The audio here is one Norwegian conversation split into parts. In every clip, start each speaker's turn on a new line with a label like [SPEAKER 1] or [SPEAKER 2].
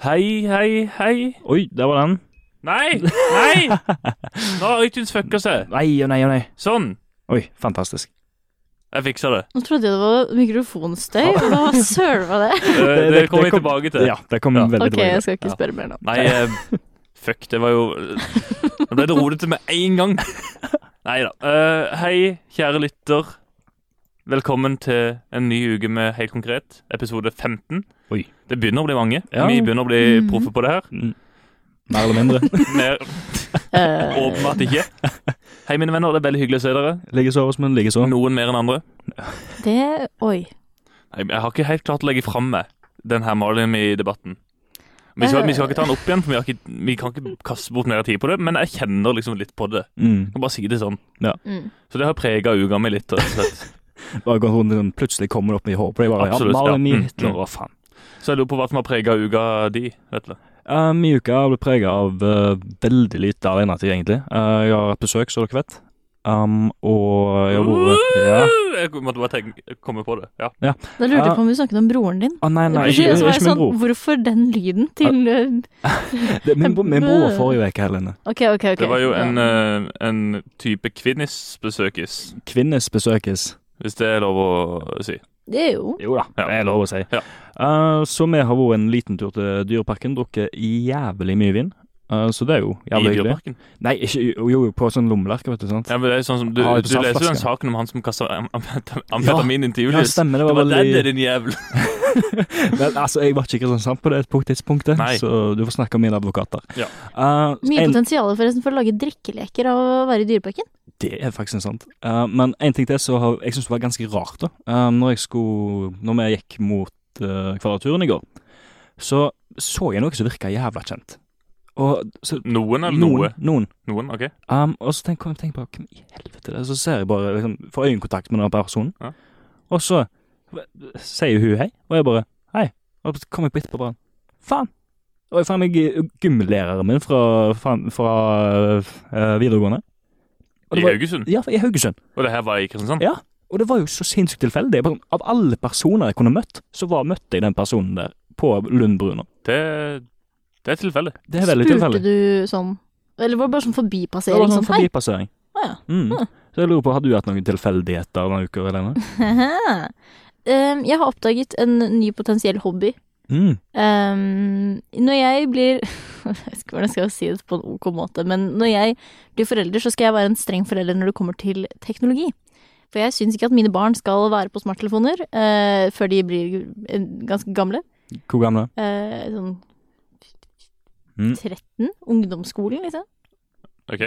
[SPEAKER 1] Hei, hei, hei.
[SPEAKER 2] Oi, der var den.
[SPEAKER 1] Nei! Nei! Nå har iTunes fucka seg.
[SPEAKER 2] Nei og nei og nei.
[SPEAKER 1] Sånn.
[SPEAKER 2] Oi, fantastisk.
[SPEAKER 1] Jeg fiksa det.
[SPEAKER 3] Nå trodde jeg det var mikrofonstøy. og Hva søren var det?
[SPEAKER 1] Eh,
[SPEAKER 2] det-
[SPEAKER 1] Det kommer vi
[SPEAKER 2] det kom-
[SPEAKER 1] tilbake til.
[SPEAKER 2] Ja, det kom
[SPEAKER 1] Ja.
[SPEAKER 2] veldig
[SPEAKER 3] Ok, jeg
[SPEAKER 2] tilbake.
[SPEAKER 3] skal ikke spørre mer nå.
[SPEAKER 1] Nei, eh, fuck, det var jo Det ble det rodete med én gang. Nei da. Eh, hei, kjære lytter. Velkommen til en ny uke med Helt konkret, episode 15.
[SPEAKER 2] Oi.
[SPEAKER 1] Det begynner å bli mange.
[SPEAKER 2] Ja.
[SPEAKER 1] Vi begynner å bli
[SPEAKER 3] Mhm.
[SPEAKER 1] proffe på det her.
[SPEAKER 2] Mm. Mer eller mindre.
[SPEAKER 1] Mer
[SPEAKER 3] Eh,
[SPEAKER 1] åpenbart ikke. Hei, mine venner. Det er veldig hyggelig å se dere.
[SPEAKER 2] Ligger så hos meg, ligger så.
[SPEAKER 1] Noen mer enn andre.
[SPEAKER 3] det Oi.
[SPEAKER 1] Nei, Jeg har ikke helt klart å legge fram meg den her Marlin i debatten. Vi skal, vi skal ikke ta den opp igjen, for vi, har ikke, vi kan ikke kaste bort mer tid på det. Men jeg kjenner liksom litt på det.
[SPEAKER 2] Mm.
[SPEAKER 1] Jeg kan bare si det sånn.
[SPEAKER 3] Mm.
[SPEAKER 1] Så det har prega uka mi litt. rett og slett.
[SPEAKER 2] Bare går rundt sånn, plutselig kommer det opp i hodet på deg. Bare,
[SPEAKER 1] Absolutt,
[SPEAKER 2] ja,
[SPEAKER 1] ja.
[SPEAKER 2] Marlin
[SPEAKER 1] Mm,
[SPEAKER 2] i Hitler,
[SPEAKER 1] mm.
[SPEAKER 2] hva faen.
[SPEAKER 1] Så jeg lurer på hva som har prega uka di. Vet du.
[SPEAKER 2] Um, I uka ble preget av eh, veldig lite alenetid, egentlig. Eh, jeg har hatt besøk, så dere vet. Um, og jeg har vært ja.
[SPEAKER 1] Jeg måtte bare tenke, komme på det. Ja.
[SPEAKER 3] Da lurte jeg på om du snakket om broren din.
[SPEAKER 2] Å, nei, nei,
[SPEAKER 3] Og
[SPEAKER 2] ikke,
[SPEAKER 3] så var
[SPEAKER 2] ikke
[SPEAKER 3] jeg
[SPEAKER 2] min
[SPEAKER 3] sånn,
[SPEAKER 2] bror.
[SPEAKER 3] hvorfor den lyden til eh,
[SPEAKER 2] Det, min, bro- min bror var forrige uke, Helene.
[SPEAKER 3] Ok, ok, ok.
[SPEAKER 1] Det var jo en,
[SPEAKER 3] Ja.
[SPEAKER 1] eh, en type kvinnesbesøkis,
[SPEAKER 2] Kvinnes besøkes.
[SPEAKER 1] hvis det er lov å si.
[SPEAKER 3] Det er jo
[SPEAKER 2] Jo da,
[SPEAKER 1] Ja.
[SPEAKER 2] det er lov å si.
[SPEAKER 1] Ja.
[SPEAKER 2] Eh, så vi har vært en liten tur til Dyreparken, drukket jævlig mye vin. Eh, så det er jo
[SPEAKER 1] I
[SPEAKER 2] jævlig hyggelig.
[SPEAKER 1] Dyreparken.
[SPEAKER 2] Nei, ikke, jo, jo, på sånn lommelerke, vet du. sant?
[SPEAKER 1] Ja, men det er sånn som, du,
[SPEAKER 2] Ja, det er
[SPEAKER 1] du leser jo den
[SPEAKER 2] saftflaske.
[SPEAKER 1] saken om han som kasta am- amfetam- amfetamin inn til
[SPEAKER 2] Ja,
[SPEAKER 1] Julius.
[SPEAKER 2] stemmer.
[SPEAKER 1] Det
[SPEAKER 2] Det var,
[SPEAKER 1] var den, det,
[SPEAKER 2] veldig
[SPEAKER 1] din jævel.
[SPEAKER 2] Vel, Altså, Jeg var ikke i Kristiansand på det punkt- tidspunktet,
[SPEAKER 1] Nei.
[SPEAKER 2] så du får snakke med mine advokater.
[SPEAKER 1] Ja.
[SPEAKER 2] Eh,
[SPEAKER 3] mye
[SPEAKER 2] en,
[SPEAKER 3] potensial forresten for å lage drikkeleker av å være i dyreparken.
[SPEAKER 2] det er faktisk sant. Eh, men en ting til så har, jeg syns det var ganske rart, da. Eh, når, jeg skulle, når vi gikk mot eh, Kvadraturen i går, så så jeg noe som virka jævla kjent. Og så,
[SPEAKER 1] Noen eller noe?
[SPEAKER 2] noen. noen.
[SPEAKER 1] Noen, ok.
[SPEAKER 2] Um, og så tenk, kom jeg tenk på Hvem i helvete er det Så ser jeg bare liksom, Får øyekontakt med den personen
[SPEAKER 1] Ja.
[SPEAKER 2] Og så Sier hun hei Og jeg bare Hei Og så kom jeg på etterpå bare Faen Og jeg faen meg gymlæreren min Fra, faen, fra eh, videregående Og
[SPEAKER 1] I
[SPEAKER 2] det var,
[SPEAKER 1] Haugesund.
[SPEAKER 2] Ja, i Haugesund
[SPEAKER 1] Og det her var i Kristiansand.
[SPEAKER 2] Ja. Og det var jo så sinnssykt tilfeldig Jeg bare sånn, Av alle personer jeg kunne møtt Så var, møtte jeg den personen der På Lundbruna
[SPEAKER 1] Det, det er tilfeldig.
[SPEAKER 2] Det er veldig tilfeldig
[SPEAKER 3] Spurte du sånn Eller var det bare sånn
[SPEAKER 2] Det var
[SPEAKER 3] forbipassering?
[SPEAKER 2] en
[SPEAKER 3] Sånn,
[SPEAKER 2] sånn
[SPEAKER 3] hei.
[SPEAKER 2] forbipassering
[SPEAKER 3] Å, ja.
[SPEAKER 2] mm. Så jeg lurer på Har du hatt noen tilfeldigheter Denne uka, Helene?
[SPEAKER 3] Haha. Ehm, jeg har oppdaget en ny potensiell hobby.
[SPEAKER 2] Mm.
[SPEAKER 3] Ehm, når jeg blir Jeg vet ikke hvordan jeg skal si det på en ok måte, men når jeg blir forelder, så skal jeg være en streng forelder når det kommer til teknologi. For jeg syns ikke at mine barn skal være på smarttelefoner eh, før de blir eh, ganske gamle.
[SPEAKER 2] Hvor gammel er du?
[SPEAKER 3] Eh, sånn
[SPEAKER 2] Mm.
[SPEAKER 3] 13? Ungdomsskolen, liksom.
[SPEAKER 1] Ok.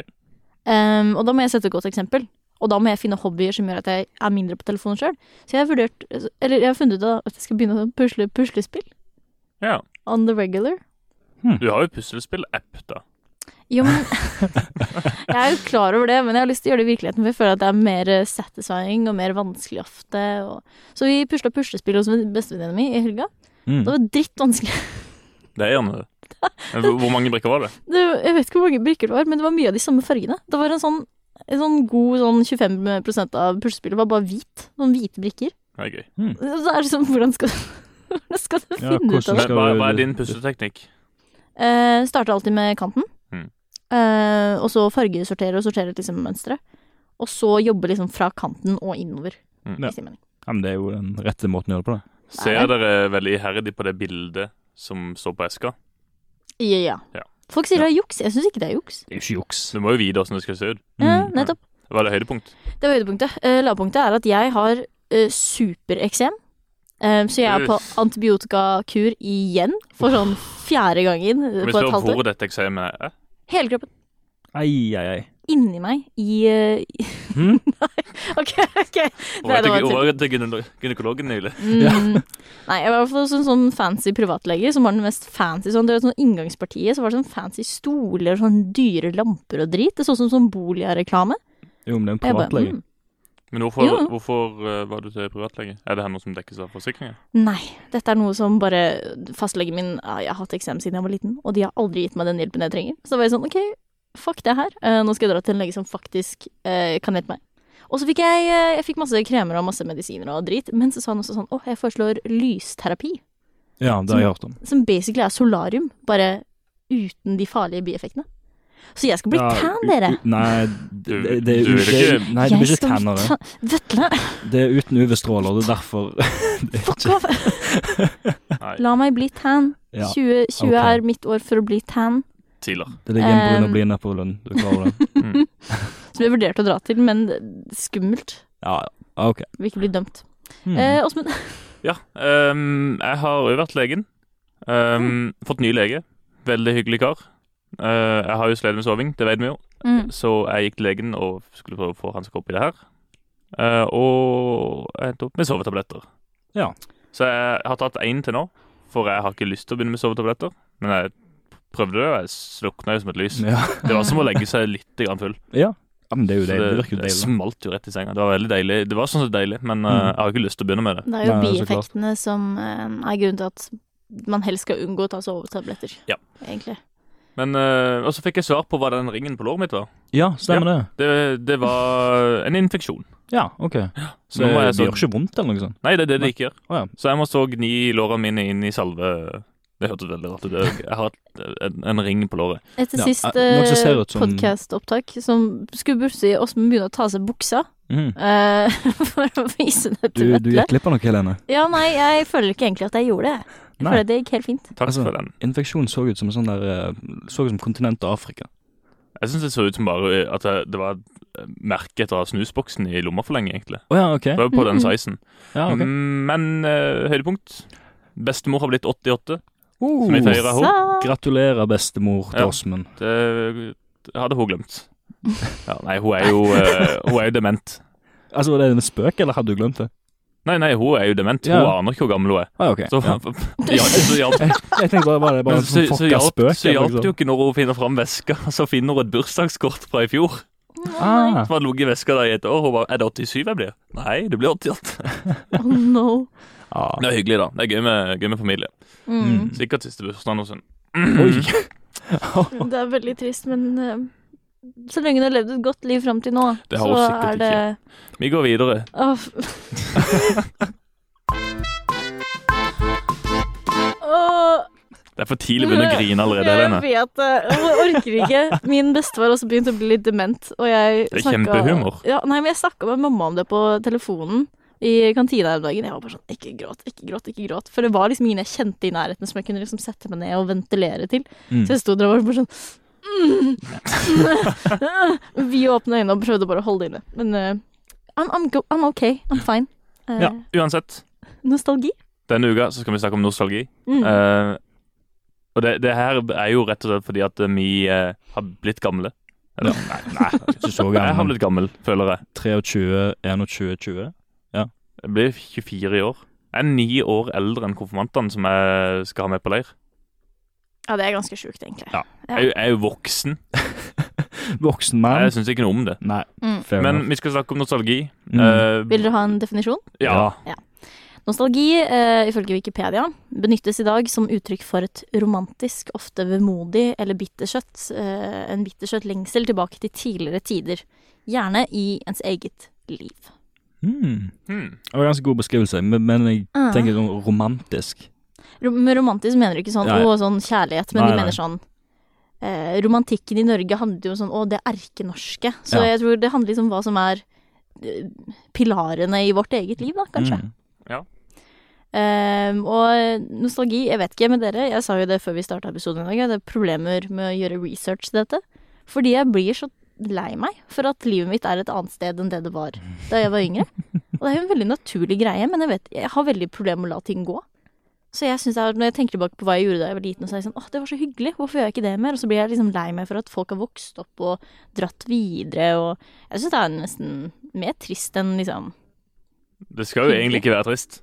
[SPEAKER 3] Ehm, og da må jeg sette et godt eksempel. Og da må jeg finne hobbyer som gjør at jeg er mindre på telefonen sjøl. Så jeg har vurdert altså, Eller jeg har funnet ut at jeg skal begynne å pusle puslespill.
[SPEAKER 1] Ja.
[SPEAKER 3] On the regular.
[SPEAKER 1] Du har jo puslespill-app, da.
[SPEAKER 3] Jo, men Jeg er jo klar over det, men jeg har lyst til å gjøre det i virkeligheten, for jeg føler at det er mer eh, satisfying og mer vanskelig ofte. Og... Så vi pusla puslespill hos bestevenninna mi i helga.
[SPEAKER 2] Mm.
[SPEAKER 3] Det var drittvanskelig.
[SPEAKER 1] Det er gjerne det. Men Hvor hvor mange brikker var det?
[SPEAKER 3] Det, jeg vet ikke hvor mange brikker det var, men det var mye av de samme fargene. Det var en sånn, en sånn god sånn 25 av puslespillet var bare hvit. Noen hvite brikker.
[SPEAKER 1] Det er gøy.
[SPEAKER 3] Så det er sånn, hvordan skal, hvordan skal du
[SPEAKER 2] Ja,
[SPEAKER 3] finne ut
[SPEAKER 2] hvordan
[SPEAKER 3] av det?
[SPEAKER 1] Men,
[SPEAKER 2] skal
[SPEAKER 1] hva,
[SPEAKER 2] du-
[SPEAKER 1] hva er din pusleteknikk?
[SPEAKER 3] Eh, starter alltid med kanten.
[SPEAKER 1] Mm.
[SPEAKER 3] Eh, og så fargesortere og sortere ut liksom mønstre. Og så jobbe liksom fra kanten og innover.
[SPEAKER 1] Mm.
[SPEAKER 2] Ja.
[SPEAKER 3] hvis jeg mener.
[SPEAKER 2] Ja, men det er jo den rette måten å gjøre det på, det.
[SPEAKER 1] Ser dere veldig iherdig på det bildet som står på eska?
[SPEAKER 3] Ja, ja.
[SPEAKER 1] Ja.
[SPEAKER 3] Folk sier
[SPEAKER 2] Ja.
[SPEAKER 3] det er juks. Jeg syns ikke det er juks.
[SPEAKER 2] Det er jo ikke juks.
[SPEAKER 1] Du må jo vite åssen det skal se ut.
[SPEAKER 3] Ja, nettopp.
[SPEAKER 1] Det var det høydepunkt.
[SPEAKER 3] Det var høydepunktet. Eh, lavpunktet er at jeg har eh, supereksem. Eh, så jeg er på
[SPEAKER 1] Uff.
[SPEAKER 3] antibiotikakur igjen for sånn fjerde gangen
[SPEAKER 1] Kan vi
[SPEAKER 3] eh, på et
[SPEAKER 1] spørre
[SPEAKER 3] halvt år.
[SPEAKER 1] hvor dette eksamen eh? er?
[SPEAKER 3] Hele kroppen.
[SPEAKER 2] Ai, ai, ai.
[SPEAKER 3] Inni meg. I eh, i-
[SPEAKER 2] Hm?
[SPEAKER 3] OK, OK.
[SPEAKER 1] Hvor var
[SPEAKER 3] det
[SPEAKER 1] det-
[SPEAKER 3] var til-
[SPEAKER 1] hvor var det til gyne- gynekologen nylig?
[SPEAKER 3] Mm. Nei, jeg var i hvert fall sånn, sånn fancy privatlege som var den mest fancy sånn. Det var sånn inngangspartiet, så var det sånn fancy stoler og sånn dyre lamper og drit. Det så ut som sånn Bolia-reklame.
[SPEAKER 2] Jo, men det er en
[SPEAKER 3] Og jeg bare,
[SPEAKER 2] privatlege.
[SPEAKER 3] mm,
[SPEAKER 1] Men hvorfor,
[SPEAKER 3] Jo.
[SPEAKER 1] hvorfor eh, var du til privatlege? Er det her noe som dekkes av forsikringen?
[SPEAKER 3] Nei, dette er noe som bare Fastlegen min ja, Jeg har hatt eksem siden jeg var liten, og de har aldri gitt meg den hjelpen jeg trenger. Så da var jeg sånn OK, fuck det her. Eh, nå skal jeg dra til en lege som faktisk eh, kan hjelpe meg. Og så fikk jeg, eh, jeg fikk masse kremer og masse medisiner og drit, men så sa han også sånn Å, jeg foreslår lysterapi.
[SPEAKER 2] Ja, det har jeg hørt om.
[SPEAKER 3] Som basically er solarium, bare uten de farlige bieffektene. Så jeg skal bli
[SPEAKER 2] Ja,
[SPEAKER 3] tan,
[SPEAKER 2] u-
[SPEAKER 3] dere!
[SPEAKER 2] u- Nei, det,
[SPEAKER 1] Du-
[SPEAKER 2] det,
[SPEAKER 1] du vil
[SPEAKER 2] det, det,
[SPEAKER 1] ikke-
[SPEAKER 2] nei, det
[SPEAKER 3] Jeg
[SPEAKER 2] blir ikke
[SPEAKER 3] skal bli
[SPEAKER 2] tan av det.
[SPEAKER 3] tan- Vetle,
[SPEAKER 2] Det er uten UV-stråler, det er derfor
[SPEAKER 3] fuck off!
[SPEAKER 1] Nei,
[SPEAKER 3] La meg bli tan.
[SPEAKER 2] Ja,
[SPEAKER 3] 2020
[SPEAKER 2] ok.
[SPEAKER 3] er mitt år for å bli tan.
[SPEAKER 1] tidligere.
[SPEAKER 2] det ligger en brun
[SPEAKER 3] Um,
[SPEAKER 2] og blid nede på Lund. Du klarer det.
[SPEAKER 1] Mm.
[SPEAKER 3] Som jeg vurderte å dra til, men det- skummelt.
[SPEAKER 2] Ja, ja. OK.
[SPEAKER 3] Vil ikke bli dømt.
[SPEAKER 2] Hmm.
[SPEAKER 3] Eh, Åsmund,
[SPEAKER 1] Ja, ehm, jeg har òg vært legen.
[SPEAKER 2] Mm.
[SPEAKER 1] Ehm, Fått ny lege. Veldig hyggelig kar. Eh, jeg har jo slitt med soving, det vet vi jo.
[SPEAKER 3] mm,
[SPEAKER 1] Så jeg gikk til legen og skulle prøve å få hans kopp i det her. Eh, og jeg endte opp med sovetabletter.
[SPEAKER 2] Ja.
[SPEAKER 1] Så jeg har tatt én til nå, for jeg har ikke lyst til å begynne med sovetabletter. Men jeg prøvde det, og jeg slukna jo som et lys.
[SPEAKER 2] Ja.
[SPEAKER 1] Det var som å legge seg litt grann full.
[SPEAKER 2] ja, men det er jo
[SPEAKER 1] Så
[SPEAKER 2] deilig. Det
[SPEAKER 1] det,
[SPEAKER 2] virker jo
[SPEAKER 1] det
[SPEAKER 2] deilig.
[SPEAKER 1] smalt jo rett i senga. Det var veldig deilig. Det var sånn sett deilig, men eh,
[SPEAKER 2] Mm.
[SPEAKER 1] jeg har ikke lyst til å begynne med det.
[SPEAKER 3] det
[SPEAKER 2] Nei,
[SPEAKER 3] er jo
[SPEAKER 2] så klart.
[SPEAKER 3] bieffektene som eh, er grunnen til at man helst skal unngå å ta sovetabletter.
[SPEAKER 1] Ja.
[SPEAKER 3] Egentlig.
[SPEAKER 1] Men, eh, Og så fikk jeg svar på hva den ringen på låret mitt var.
[SPEAKER 2] Ja, stemmer det.
[SPEAKER 1] Det, det var en infeksjon.
[SPEAKER 2] Ja, OK.
[SPEAKER 1] Så nå
[SPEAKER 2] det,
[SPEAKER 1] må jeg sånn-
[SPEAKER 2] det
[SPEAKER 1] så,
[SPEAKER 2] gjør ikke vondt eller noe sånt?
[SPEAKER 1] nei, det er det det ikke gjør.
[SPEAKER 2] Å ja.
[SPEAKER 1] Så jeg må så gni lårene mine inn i salve. Det hørtes veldig rart ut. Jeg har et- en, en ring på låret.
[SPEAKER 3] Etter
[SPEAKER 2] Ja,
[SPEAKER 3] sist
[SPEAKER 2] eh, noe som ser ut som-
[SPEAKER 3] podkastopptak som skulle borti Åsmund begynne å ta av seg buksa
[SPEAKER 2] Mhm.
[SPEAKER 3] eh, for å vise det
[SPEAKER 2] Du, du
[SPEAKER 3] til Vetle.
[SPEAKER 2] gikk glipp av noe, Helene.
[SPEAKER 3] Ja, nei, jeg føler ikke egentlig at jeg gjorde det. Jeg
[SPEAKER 2] Nei.
[SPEAKER 3] føler at det gikk helt fint.
[SPEAKER 1] Takk
[SPEAKER 2] Altså-
[SPEAKER 1] for den.
[SPEAKER 2] Infeksjon så ut som en sånn der eh, Så ut som kontinentet Afrika.
[SPEAKER 1] Jeg syns det så ut som bare at jeg- det var et merke etter å ha snusboksen i lomma for lenge, egentlig.
[SPEAKER 2] Å ja, OK.
[SPEAKER 1] Det var på den
[SPEAKER 3] Mhm.
[SPEAKER 1] sizen.
[SPEAKER 2] Ja, Mm. Ah, ok.
[SPEAKER 1] Mm, Men eh, høydepunkt. Bestemor har blitt 88.
[SPEAKER 2] Oh,
[SPEAKER 1] Som vi feirer henne.
[SPEAKER 3] Så
[SPEAKER 2] Gratulerer, bestemor til
[SPEAKER 1] Ja.
[SPEAKER 2] Åsmund.
[SPEAKER 1] Det hadde hun glemt. Ja, nei, hun er jo, eh, hun er jo dement.
[SPEAKER 2] Altså, Var det en spøk, eller hadde du glemt det?
[SPEAKER 1] Nei, nei, hun er jo dement. Hun
[SPEAKER 2] Ja.
[SPEAKER 1] aner ikke hvor gammel hun er.
[SPEAKER 2] Ah, ok.
[SPEAKER 1] Så,
[SPEAKER 2] ja.
[SPEAKER 1] det hjalp- så hjalp
[SPEAKER 2] Jeg tenkte bare, var det bare
[SPEAKER 1] Men
[SPEAKER 2] en sånn
[SPEAKER 1] så
[SPEAKER 2] fucka
[SPEAKER 1] hjalp,
[SPEAKER 2] spøk?
[SPEAKER 1] så
[SPEAKER 2] eller liksom. noe
[SPEAKER 1] hjalp det jo
[SPEAKER 2] sånt?
[SPEAKER 1] ikke når hun finner fram veska, så finner hun et bursdagskort fra i fjor.
[SPEAKER 2] Ah,
[SPEAKER 1] Som hadde ligget i veska der i et år. Hun bare Er det 87 jeg blir? Nei, det blir 88.
[SPEAKER 3] Oh no.
[SPEAKER 1] Det er hyggelig, da. Det er gøy med, gøy med familie.
[SPEAKER 3] Mm.
[SPEAKER 1] Sikkert siste bursdagen hos henne.
[SPEAKER 2] Ah. Oi.
[SPEAKER 3] Det er veldig trist, men eh, så lenge du har levd et godt liv fram til nå,
[SPEAKER 1] Det har
[SPEAKER 3] så
[SPEAKER 1] hun
[SPEAKER 3] er
[SPEAKER 1] sikkert
[SPEAKER 3] det
[SPEAKER 1] Vi går videre.
[SPEAKER 3] Åh, f- Åh,
[SPEAKER 1] Det er for tidlig å begynne å grine allerede, Helene.
[SPEAKER 3] Jeg vet det. Jeg orker ikke. Min bestefar har også begynt å bli litt dement, og jeg
[SPEAKER 1] Det er
[SPEAKER 3] snakket-
[SPEAKER 1] kjempehumor.
[SPEAKER 3] Ja, nei, men jeg snakka med mamma om det på telefonen i kantina her om dagen. Jeg var bare sånn Ikke gråt, ikke gråt, ikke gråt. For det var liksom ingen jeg kjente i nærheten som jeg kunne liksom sette meg ned og ventilere til.
[SPEAKER 2] Mm.
[SPEAKER 3] Så jeg sto der og var bare sånn mm, Vi åpna øynene og prøvde bare å holde det inne. Men eh, I'm, I'm, go I'm okay. I'm fine. Eh,
[SPEAKER 1] Ja, uansett.
[SPEAKER 3] Nostalgi.
[SPEAKER 1] Denne uka så skal vi snakke om nostalgi.
[SPEAKER 3] Mm.
[SPEAKER 1] Eh, og det, det her er jo rett og slett fordi at vi eh, har blitt gamle. Eller, nei, nei.
[SPEAKER 2] Ikke så
[SPEAKER 1] Jeg har
[SPEAKER 2] gammel.
[SPEAKER 1] blitt gammel, føler jeg.
[SPEAKER 2] 23, 21, 20.
[SPEAKER 1] Jeg blir 24 i år. Jeg er ni år eldre enn konfirmantene som jeg skal ha med på leir.
[SPEAKER 3] Ja, det er ganske sjukt, egentlig.
[SPEAKER 2] Ja.
[SPEAKER 3] Ja.
[SPEAKER 1] Jeg, er jo- jeg er jo voksen.
[SPEAKER 2] Voksen mann.
[SPEAKER 1] Jeg syns ikke noe om det.
[SPEAKER 2] Nei,
[SPEAKER 3] Mm.
[SPEAKER 2] fair
[SPEAKER 1] Men
[SPEAKER 2] enough.
[SPEAKER 1] vi skal snakke om nostalgi.
[SPEAKER 2] Mm.
[SPEAKER 1] Eh,
[SPEAKER 3] Vil dere ha en definisjon?
[SPEAKER 1] ja.
[SPEAKER 3] Nostalgi, eh, ifølge Wikipedia, benyttes i dag som uttrykk for et romantisk, ofte vemodig eller bitterskjøtt, eh, en bitterskjøtt lengsel tilbake til tidligere tider, gjerne i ens eget liv.
[SPEAKER 2] Hmm.
[SPEAKER 1] Hmm.
[SPEAKER 2] Det var en ganske god beskrivelse, men, men jeg
[SPEAKER 3] Ah.
[SPEAKER 2] tenker sånn romantisk.
[SPEAKER 3] Rom- Med romantisk mener du ikke sånn,
[SPEAKER 2] Nei.
[SPEAKER 3] å, sånn kjærlighet, men
[SPEAKER 2] Nei,
[SPEAKER 3] vi
[SPEAKER 2] nei.
[SPEAKER 3] mener sånn eh, Romantikken i Norge handler jo om sånn, å, det erkenorske. Så
[SPEAKER 2] Ja.
[SPEAKER 3] jeg tror det handler liksom om hva som er eh, pilarene i vårt eget liv, da, kanskje.
[SPEAKER 2] Mm.
[SPEAKER 3] Ehm, og nostalgi, jeg vet ikke med dere, jeg sa jo det før vi starta episoden i dag, jeg hadde problemer med å gjøre research til dette. Fordi jeg blir så lei meg for at livet mitt er et annet sted enn det det var da jeg var yngre. Og det er jo en veldig naturlig greie, men jeg vet, jeg har veldig problemer med å la ting gå. Så jeg synes det er, når jeg tenker tilbake på hva jeg gjorde da jeg var liten, og så er jeg sånn, åh, det var så hyggelig, hvorfor gjør jeg ikke det mer? Og så blir jeg liksom lei meg for at folk har vokst opp og dratt videre, og jeg synes det er nesten mer trist enn liksom
[SPEAKER 1] Det skal jo egentlig ikke være trist.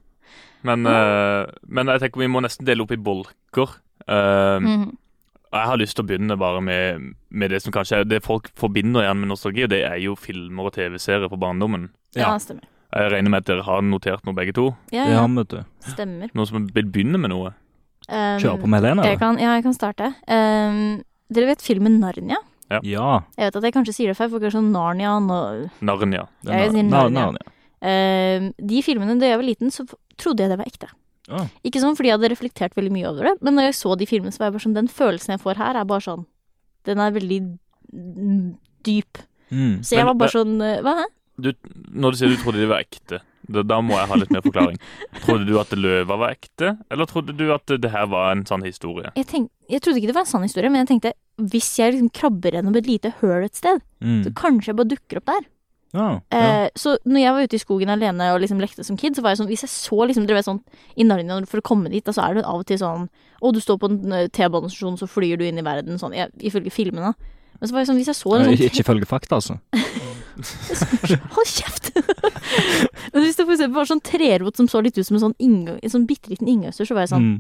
[SPEAKER 1] Men, eh, men jeg tenker vi må nesten dele opp i bolker. Eh,
[SPEAKER 3] Mhm.
[SPEAKER 1] og Jeg har lyst til å begynne bare med, med det som kanskje er det folk forbinder igjen med nostalgi, og det er jo filmer og TV-serier fra barndommen.
[SPEAKER 3] Ja,
[SPEAKER 2] Ja.
[SPEAKER 3] stemmer.
[SPEAKER 1] Jeg regner med at dere har notert noe, begge to.
[SPEAKER 3] Ja,
[SPEAKER 2] Det
[SPEAKER 3] ja,
[SPEAKER 2] har vi, vet du.
[SPEAKER 3] stemmer.
[SPEAKER 1] Noen som vil begynne med noe.
[SPEAKER 3] Um,
[SPEAKER 2] Kjøre på med Helene,
[SPEAKER 3] Jeg
[SPEAKER 2] eller?
[SPEAKER 3] kan, ja, jeg kan starte. Ehm, dere vet filmen Narnia?
[SPEAKER 2] Ja.
[SPEAKER 3] Jeg vet at jeg kanskje sier det feil, for det er sånn Narnia nå- Um,
[SPEAKER 1] Narnia.
[SPEAKER 2] det er
[SPEAKER 3] Jeg
[SPEAKER 2] nar-
[SPEAKER 3] sier
[SPEAKER 2] nar-
[SPEAKER 3] Narnia.
[SPEAKER 2] Narnia.
[SPEAKER 3] Ehm, De filmene da jeg var liten, så f- trodde jeg det var ekte.
[SPEAKER 2] Ah.
[SPEAKER 3] Ikke sånn fordi jeg hadde reflektert veldig mye over det, men når jeg så de filmene, så var jeg bare sånn Den følelsen jeg får her, er bare sånn Den er veldig mm, dyp.
[SPEAKER 2] Mm.
[SPEAKER 3] Så jeg
[SPEAKER 1] Men
[SPEAKER 3] var bare
[SPEAKER 1] det-
[SPEAKER 3] sånn eh, Hva? hæ?
[SPEAKER 1] Du, når du sier du trodde de var ekte, da, da må jeg ha litt mer forklaring. Trodde du at løva var ekte, eller trodde du at det her var en sann historie?
[SPEAKER 3] Jeg, tenk, jeg trodde ikke det var en sann historie, men jeg tenkte hvis jeg liksom krabber gjennom et lite høl et sted, så
[SPEAKER 2] Mm.
[SPEAKER 3] kanskje jeg bare dukker opp der.
[SPEAKER 2] Ah, ja.
[SPEAKER 3] Eh, så når jeg var ute i skogen alene og liksom lekte som kid, så var jeg sånn Hvis jeg så liksom, dere vet sånn i Narnia når- for å komme dit, da, så er det av og til sånn Å, du står på en eh, T-banestasjon, så flyr du inn i verden, sånn jeg, ifølge filmene. Men så var jeg sånn Hvis jeg så en
[SPEAKER 2] Eh,
[SPEAKER 3] sånn
[SPEAKER 2] Ikke ifølge fakta, altså.
[SPEAKER 3] Hold kjeft! Men hvis det for eksempel var sånn trerot som så litt ut som en sånn, inngang, en sånn bitte liten inngangsdør, så var jeg sånn
[SPEAKER 2] Mm.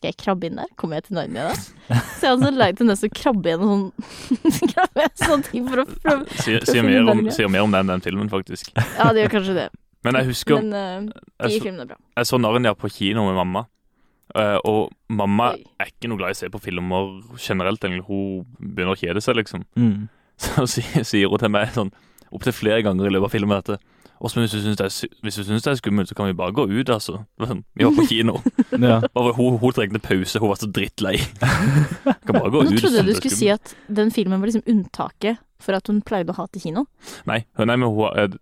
[SPEAKER 3] Skal jeg krabbe inn der? Kommer jeg til Narnia da? Så jeg hadde sånn lei tendens til å krabbe gjennom sånn Krabbe gjennom sånne ting for å prøve
[SPEAKER 1] Sier, sier, mer, om, sier mer om den enn den filmen, faktisk.
[SPEAKER 3] Ja, det gjør kanskje det.
[SPEAKER 1] Men jeg husker
[SPEAKER 3] Men eh, de
[SPEAKER 1] jeg så,
[SPEAKER 3] filmene er bra.
[SPEAKER 1] jeg så Narnia på kino med mamma. eh, og mamma
[SPEAKER 3] Oi.
[SPEAKER 1] er ikke noe glad i å se på filmer generelt. egentlig. Hun begynner å kjede seg, liksom.
[SPEAKER 2] Mm.
[SPEAKER 1] Så sier, sier hun til meg sånn opptil flere ganger i løpet av filmen dette. Åsmund, hvis du syns det, er sy- hvis du synes det er skummelt, så kan vi bare gå ut, altså. Sånn, Vi var på kino.
[SPEAKER 2] Ja.
[SPEAKER 1] Bare, hun, hun trengte pause, hun var så drittlei. Kan bare gå
[SPEAKER 3] Nå
[SPEAKER 1] ut. hvis
[SPEAKER 3] trodde jeg du
[SPEAKER 1] det er
[SPEAKER 3] skulle si
[SPEAKER 1] skummelt.
[SPEAKER 3] at den filmen var liksom unntaket for at hun pleide å hate kino.
[SPEAKER 1] Nei, nei men hun er,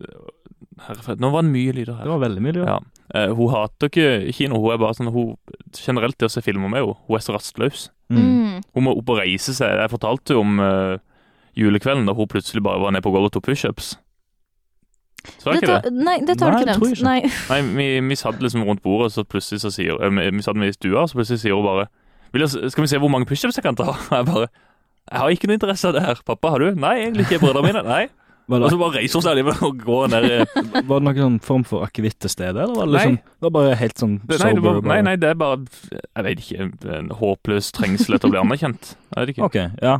[SPEAKER 1] Herrefred, nå var det mye lyder
[SPEAKER 2] Det
[SPEAKER 1] her.
[SPEAKER 2] var veldig mye,
[SPEAKER 1] Ja. Eh, hun hater ikke kino. Hun er bare sånn hun, Generelt det å se filmer med henne. Hun er så rastløs.
[SPEAKER 2] Mm.
[SPEAKER 1] Hun må opp og reise seg. Jeg fortalte jo om eh, julekvelden da hun plutselig bare var nede på gulvet og tok pushups. Så er
[SPEAKER 3] Det
[SPEAKER 1] ikke det?
[SPEAKER 3] tar- Nei, det tar
[SPEAKER 2] Nei,
[SPEAKER 3] du ikke
[SPEAKER 2] det tror jeg
[SPEAKER 3] nevnt.
[SPEAKER 2] ikke.
[SPEAKER 3] Nei,
[SPEAKER 1] Nei, vi, vi satt liksom rundt bordet, så plutselig så sier eh, Vi vi satt med i stua, så plutselig sier hun bare Vil jeg, s- Skal vi se hvor mange pushups jeg kan ta? Og Jeg bare Jeg har ikke noe interesse av det her. Pappa, har du? Nei, egentlig ikke. Brødrene mine? Nei.
[SPEAKER 2] Var,
[SPEAKER 1] Og
[SPEAKER 2] det,
[SPEAKER 1] så bare reiser hun seg alligevel og går ned i
[SPEAKER 2] var det noen sånn form for akevitt til stede, eller var det liksom
[SPEAKER 1] Nei.
[SPEAKER 2] Det var bare helt sånn
[SPEAKER 1] Det-
[SPEAKER 2] sober?
[SPEAKER 1] Nei, det var, nei,
[SPEAKER 2] bare-
[SPEAKER 1] nei, det er bare Jeg vet ikke. det er En håpløs trengsel etter å bli anerkjent. Jeg vet ikke.
[SPEAKER 2] OK, ja.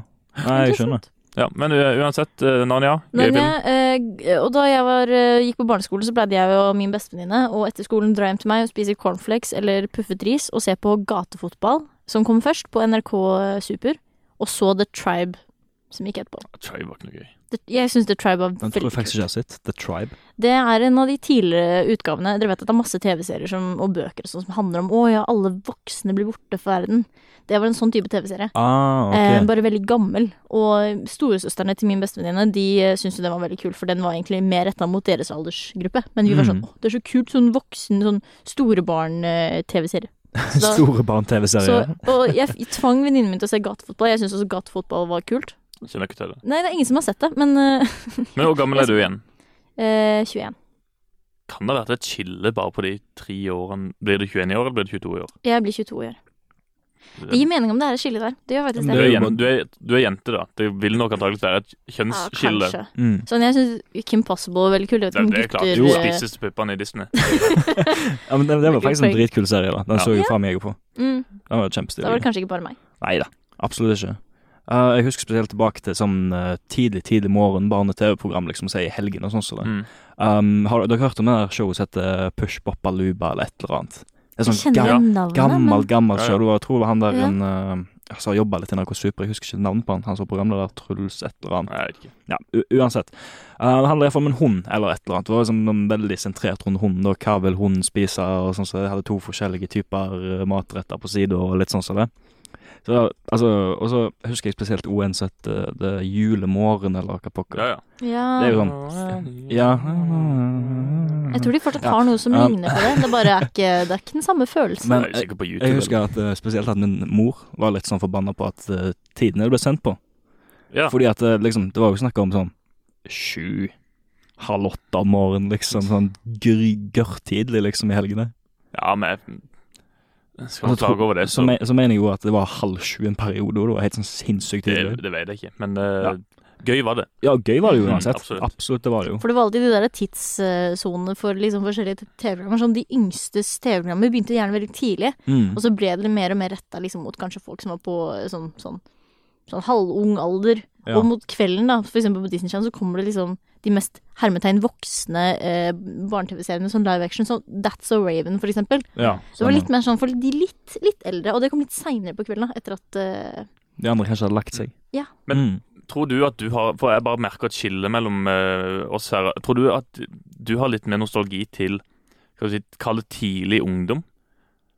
[SPEAKER 2] Nei, jeg skjønner.
[SPEAKER 3] interessant.
[SPEAKER 1] Ja, men uh, uansett, uh, Narnia. gøy film.
[SPEAKER 3] Men jeg, eh, og da jeg var, eh, gikk på barneskole, så pleide jeg og min bestevenninne å etter skolen dra hjem til meg og spise cornflakes eller puffet ris og se på gatefotball, som kom først på NRK eh, Super, og så The Tribe, som gikk etterpå.
[SPEAKER 1] Troy var ikke noe gøy.
[SPEAKER 3] The- Jeg syns The Tribe var
[SPEAKER 2] Den tror
[SPEAKER 3] veldig
[SPEAKER 2] jeg faktisk ikke
[SPEAKER 3] kult.
[SPEAKER 2] jeg har sett. The Tribe.
[SPEAKER 3] Det er en av de tidligere utgavene. Dere vet at det er masse TV-serier som- og bøker og sånn som handler om å ja, alle voksne blir borte for verden. Det var en sånn type TV-serie.
[SPEAKER 2] Ah,
[SPEAKER 3] Eh,
[SPEAKER 2] ok.
[SPEAKER 3] bare veldig gammel. Og storesøstrene til min bestevenninne De eh, syntes jo den var veldig kul, for den var egentlig mer retta mot deres aldersgruppe. Men vi var sånn
[SPEAKER 2] Mm.
[SPEAKER 3] åh, det er så kult, sånn voksen, sånn store barn-TV-serie. da-
[SPEAKER 2] Store
[SPEAKER 3] Så,
[SPEAKER 2] barn-TV-serie.
[SPEAKER 3] og jeg f- tvang venninnen min til å se gatefotball. Jeg syntes også gatefotball var kult.
[SPEAKER 1] Kjenner ikke til det.
[SPEAKER 3] Nei, det er ingen som har sett det, men eh,
[SPEAKER 1] Men hvor gammel er du igjen?
[SPEAKER 3] eh, 21.
[SPEAKER 1] Kan det være at det skiller bare på de tre årene Blir det 21 i år, eller blir det 22 i år?
[SPEAKER 3] Jeg blir 22 i år. Det gir mening om det er et skille der. Det gjør faktisk
[SPEAKER 2] Men
[SPEAKER 1] Du
[SPEAKER 3] det.
[SPEAKER 1] er,
[SPEAKER 2] jo
[SPEAKER 1] jen-
[SPEAKER 2] bare-
[SPEAKER 1] du, er, du er jente, da. Det vil nok antakelig være et
[SPEAKER 3] Ja,
[SPEAKER 1] kjønnsskille.
[SPEAKER 3] kanskje.
[SPEAKER 2] Mm.
[SPEAKER 3] Sånn, jeg syns Kim Possible var veldig kul. Jeg vet
[SPEAKER 1] det,
[SPEAKER 3] ikke om
[SPEAKER 1] det er klart.
[SPEAKER 3] gutter
[SPEAKER 1] Jo,
[SPEAKER 3] eh,
[SPEAKER 1] spisseste puppene i Disney.
[SPEAKER 2] Ja, men det, det var
[SPEAKER 3] Ikke
[SPEAKER 2] faktisk en
[SPEAKER 3] poeng.
[SPEAKER 2] dritkul serie. da Den
[SPEAKER 1] Ja.
[SPEAKER 2] så jo faen meg jeg på.
[SPEAKER 3] mm,
[SPEAKER 2] Den var
[SPEAKER 3] Da var
[SPEAKER 2] kjempestilig.
[SPEAKER 3] det kanskje ikke bare meg.
[SPEAKER 2] Nei da, absolutt ikke. Eh, jeg husker spesielt tilbake til sånn eh, tidlig tidlig morgen barne-TV-program, liksom, si i helgen og sånn som det.
[SPEAKER 1] Mm.
[SPEAKER 2] Um, har dere hørt om det der showet som heter Push Boppaluba eller et eller annet? Det er
[SPEAKER 3] Jeg
[SPEAKER 2] sånn
[SPEAKER 3] kjenner
[SPEAKER 2] ga
[SPEAKER 3] navnet,
[SPEAKER 2] gammel, gammel
[SPEAKER 1] Ja, ja.
[SPEAKER 2] show. Det var- Jeg tror det var han der
[SPEAKER 3] Ja.
[SPEAKER 2] en eh, altså, jobba litt i NRK Super, jeg husker ikke navnet på han. Han som var programleder Truls et eller annet.
[SPEAKER 1] Nei, jeg vet ikke.
[SPEAKER 2] Ja, u uansett. Eh, det handler iallfall om en hund eller et eller annet. Det var liksom noen veldig sentrert rundt hunden og hva vil hunden spise, og sånn så jeg hadde to forskjellige typer eh, matretter på sida og litt sånn som det. Så, da- altså, og så husker jeg spesielt ON sitt uh, det er Julemorgen eller hva pokker.
[SPEAKER 1] Ja, ja.
[SPEAKER 3] men ja.
[SPEAKER 2] Det er jo sånn Ja
[SPEAKER 3] Jeg tror de fortsatt
[SPEAKER 2] Ja.
[SPEAKER 3] har noe som
[SPEAKER 2] Um,
[SPEAKER 3] ligner på det. Det bare er ikke, det er ikke den samme følelsen.
[SPEAKER 2] Men
[SPEAKER 1] det er jo sikkert på YouTube.
[SPEAKER 2] jeg husker at eh, spesielt at min mor var litt sånn forbanna på at eh, tidene det ble sendt på.
[SPEAKER 1] eller? Ja.
[SPEAKER 2] Fordi at eh, liksom, det var jo snakk om sånn sju, halv åtte om morgenen, liksom. Sånn gry- gørrtidlig, liksom, i helgene.
[SPEAKER 1] ja, men jeg- Skal
[SPEAKER 2] Altså,
[SPEAKER 1] man klage over det,
[SPEAKER 2] Så,
[SPEAKER 1] så
[SPEAKER 2] me så mener jeg jo at det var halv sju en periode, og det var helt sånn sinnssykt
[SPEAKER 1] det,
[SPEAKER 2] tidlig.
[SPEAKER 1] det vet jeg ikke. Men eh, gøy var det.
[SPEAKER 2] Ja, gøy var det jo
[SPEAKER 1] Mm,
[SPEAKER 2] uansett.
[SPEAKER 1] absolutt.
[SPEAKER 2] absolutt. det var det jo.
[SPEAKER 3] For det var alltid de der tidssonene for liksom forskjellige TV-programmer. Sånn de yngstes TV-programmer begynte gjerne veldig tidlig,
[SPEAKER 2] Mm.
[SPEAKER 3] og så ble det mer og mer retta liksom, mot kanskje folk som var på eh, sånn, sånn, sånn halvung alder.
[SPEAKER 2] Ja.
[SPEAKER 3] Og mot kvelden, da, for eksempel på Disney Channel, så kommer det liksom de mest hermetegn voksne eh, barne-TV-seriene, sånn live action, sånn That's So Raven, for eksempel.
[SPEAKER 2] Ja,
[SPEAKER 3] Så det var litt mer sånn for de litt, litt eldre, og det kom litt seinere på kvelden, da, etter at eh,
[SPEAKER 2] De andre kanskje hadde lagt seg.
[SPEAKER 3] Ja.
[SPEAKER 1] Men-
[SPEAKER 2] mm.
[SPEAKER 1] Tror du at du har For jeg bare merker et skille mellom eh, oss her. Tror du at du har litt mer nostalgi til Skal vi si Kall det tidlig ungdom?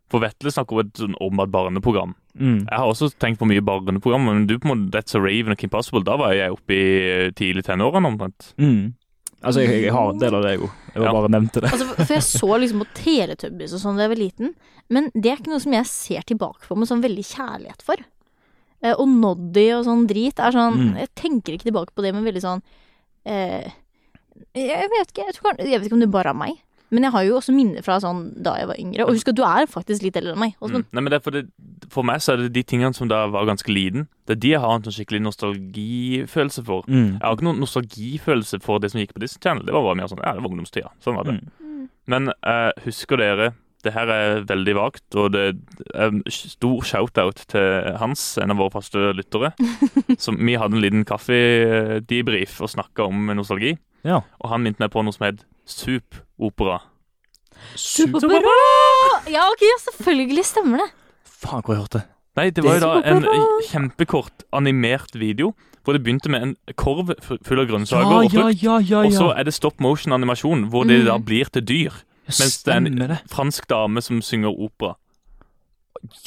[SPEAKER 1] For Vetle snakker om et, sånn- om et barneprogram.
[SPEAKER 2] Mm.
[SPEAKER 1] Jeg har også tenkt på mye barneprogram, men du på en måte That's a Raven og Kim Possible, da var jeg oppe i eh, tidlig tenårene omtrent.
[SPEAKER 2] Mm. Altså, jeg, jeg har en del av det, jo. Jeg
[SPEAKER 1] Ja.
[SPEAKER 2] bare nevnte det.
[SPEAKER 3] Altså, for- for jeg så liksom på Teletubbies og sånn da jeg var liten, men det er ikke noe som jeg ser tilbake på med sånn veldig kjærlighet for. Eh, og Noddy og sånn drit er sånn
[SPEAKER 2] Mm.
[SPEAKER 3] Jeg tenker ikke tilbake på det, men veldig sånn eh, Jeg vet ikke jeg, tror, kan- jeg vet ikke om det bare er meg, men jeg har jo også minner fra sånn da jeg var yngre. Og husk at du er faktisk litt eldre enn meg. sånn, Åsmund.
[SPEAKER 1] Mm. Nei, men det er fordi, For meg så er det de tingene som da jeg var ganske liten, det er de jeg har en sånn skikkelig nostalgifølelse for.
[SPEAKER 2] Mm.
[SPEAKER 1] Jeg har ikke noen nostalgifølelse for det som gikk på Disney Channel. Det var bare mer sånn, ja, det var ungdomstida. Sånn var det.
[SPEAKER 2] Mm.
[SPEAKER 1] Men eh, husker dere Det her er veldig vagt, og det er en stor shout-out til Hans, en av våre faste lyttere. som Vi hadde en liten kaffedebrief og snakka om nostalgi,
[SPEAKER 2] Ja.
[SPEAKER 1] og han minte meg på noe som het Soup-opera.
[SPEAKER 3] Superbra! Ja, ok, ja, selvfølgelig stemmer det.
[SPEAKER 2] Faen, hvor jeg hørte det.
[SPEAKER 1] Nei, det var jo da en
[SPEAKER 3] Soup-opera!
[SPEAKER 1] kjempekort animert video, hvor det begynte med en korv fu- full av grønnsaker og frukt.
[SPEAKER 2] ja, ja,
[SPEAKER 1] Og så er det stop motion-animasjon, hvor det
[SPEAKER 3] Mm.
[SPEAKER 1] da blir til dyr. mens det er en-
[SPEAKER 2] Stemmer det.
[SPEAKER 1] Fransk dame som synger opera.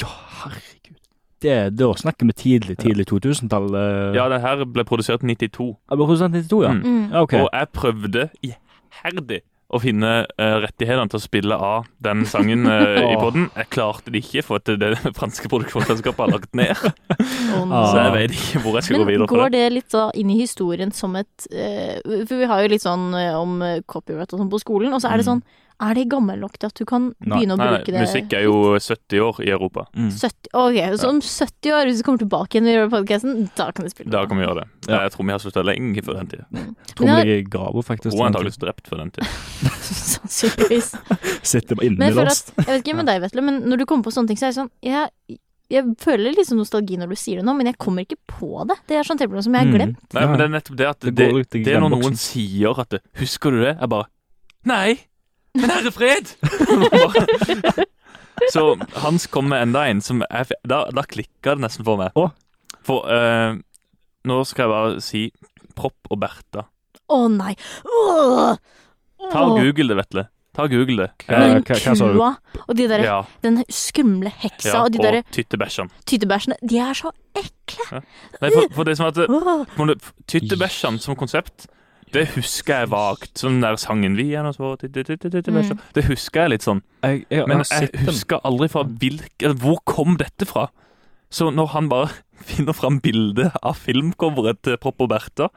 [SPEAKER 2] Ja, herregud. Det, da snakker vi tidlig, tidlig 2000-tall. eh,
[SPEAKER 1] Ja, det her ble produsert 92.
[SPEAKER 2] Ja, bare prosent 92, ja.
[SPEAKER 1] Mm.
[SPEAKER 3] Mm.
[SPEAKER 2] Ja, OK.
[SPEAKER 1] Og jeg prøvde iherdig å finne eh, rettighetene til å spille av den sangen eh, i
[SPEAKER 2] Åh.
[SPEAKER 1] poden. Jeg klarte det ikke, for at det franske produksjonsselskapet har lagt ned.
[SPEAKER 3] Og
[SPEAKER 1] Så
[SPEAKER 2] Ah.
[SPEAKER 1] jeg vet ikke hvor jeg skal gå
[SPEAKER 3] Men
[SPEAKER 1] videre fra
[SPEAKER 3] går
[SPEAKER 1] det.
[SPEAKER 3] det litt da inn i historien som et eh, For vi har jo litt sånn eh, om eh, copyright og sånn på skolen, og så er det sånn Er det gammel nok til at du kan
[SPEAKER 2] Nei,
[SPEAKER 1] Mm.
[SPEAKER 3] begynne å
[SPEAKER 1] Nei,
[SPEAKER 3] bruke
[SPEAKER 1] nei,
[SPEAKER 3] det?
[SPEAKER 1] musikk er jo 70 år i Europa.
[SPEAKER 2] Mm.
[SPEAKER 3] 70, ok, Så om 70 år, hvis du kommer tilbake igjen og gjør podkasten, da kan du spille.
[SPEAKER 1] Da kan vi gjøre det.
[SPEAKER 2] Ja.
[SPEAKER 1] Jeg tror vi har slutta lenge før den tid.
[SPEAKER 2] Tror vi
[SPEAKER 3] Men
[SPEAKER 2] ligger i grava, faktisk.
[SPEAKER 1] Hun
[SPEAKER 2] sånn
[SPEAKER 1] er antakeligvis drept før den tid.
[SPEAKER 3] Sannsynligvis.
[SPEAKER 2] Sitter
[SPEAKER 3] Men jeg, føler
[SPEAKER 2] innelåst.
[SPEAKER 3] at, jeg vet ikke med deg, Vetle, men når du kommer på sånne ting, så er det sånn Jeg, jeg føler liksom nostalgi når du sier det nå, men jeg kommer ikke på det. Det er sånn tilfelle som jeg har
[SPEAKER 2] Mm.
[SPEAKER 3] glemt.
[SPEAKER 1] Nei, men det er nettopp det at
[SPEAKER 2] Det
[SPEAKER 1] det,
[SPEAKER 2] går ut i
[SPEAKER 1] det er når
[SPEAKER 2] glemmeboksen.
[SPEAKER 1] noen sier at det, 'Husker du det?' Jeg bare 'Nei, men herre fred!' Bare- Så Hans kom med enda en som jeg, f- Da, da klikka det nesten for meg.
[SPEAKER 2] Å?
[SPEAKER 1] For eh, nå skal jeg bare si Propp og Bertha.
[SPEAKER 3] Å nei. Åh!
[SPEAKER 1] Ta og
[SPEAKER 3] Åh.
[SPEAKER 1] Google det, Vetle. Ta og Google det.
[SPEAKER 2] Eh,
[SPEAKER 3] Men
[SPEAKER 2] hva- hva sa du?
[SPEAKER 3] kua og de der,
[SPEAKER 1] Ja,
[SPEAKER 3] den skumle heksa
[SPEAKER 1] ja,
[SPEAKER 3] og de der
[SPEAKER 1] og Tyttebæsjan.
[SPEAKER 3] tyttebæsjene, de er så ekle!
[SPEAKER 1] Nei, for, for det som at
[SPEAKER 3] Åh.
[SPEAKER 1] på en måte, Tyttebæsjan som konsept det husker jeg vagt. Som den der sangen vi er nå så, tytte- tytte- tyttebæsja. Det husker jeg litt sånn.
[SPEAKER 2] Jeg, jeg,
[SPEAKER 1] Men
[SPEAKER 2] har
[SPEAKER 1] jeg
[SPEAKER 2] sett den.
[SPEAKER 1] husker aldri fra hvilk, eller Hvor kom dette fra? Så når han bare finner fram bildet av filmcoveret til Propp og Bertha,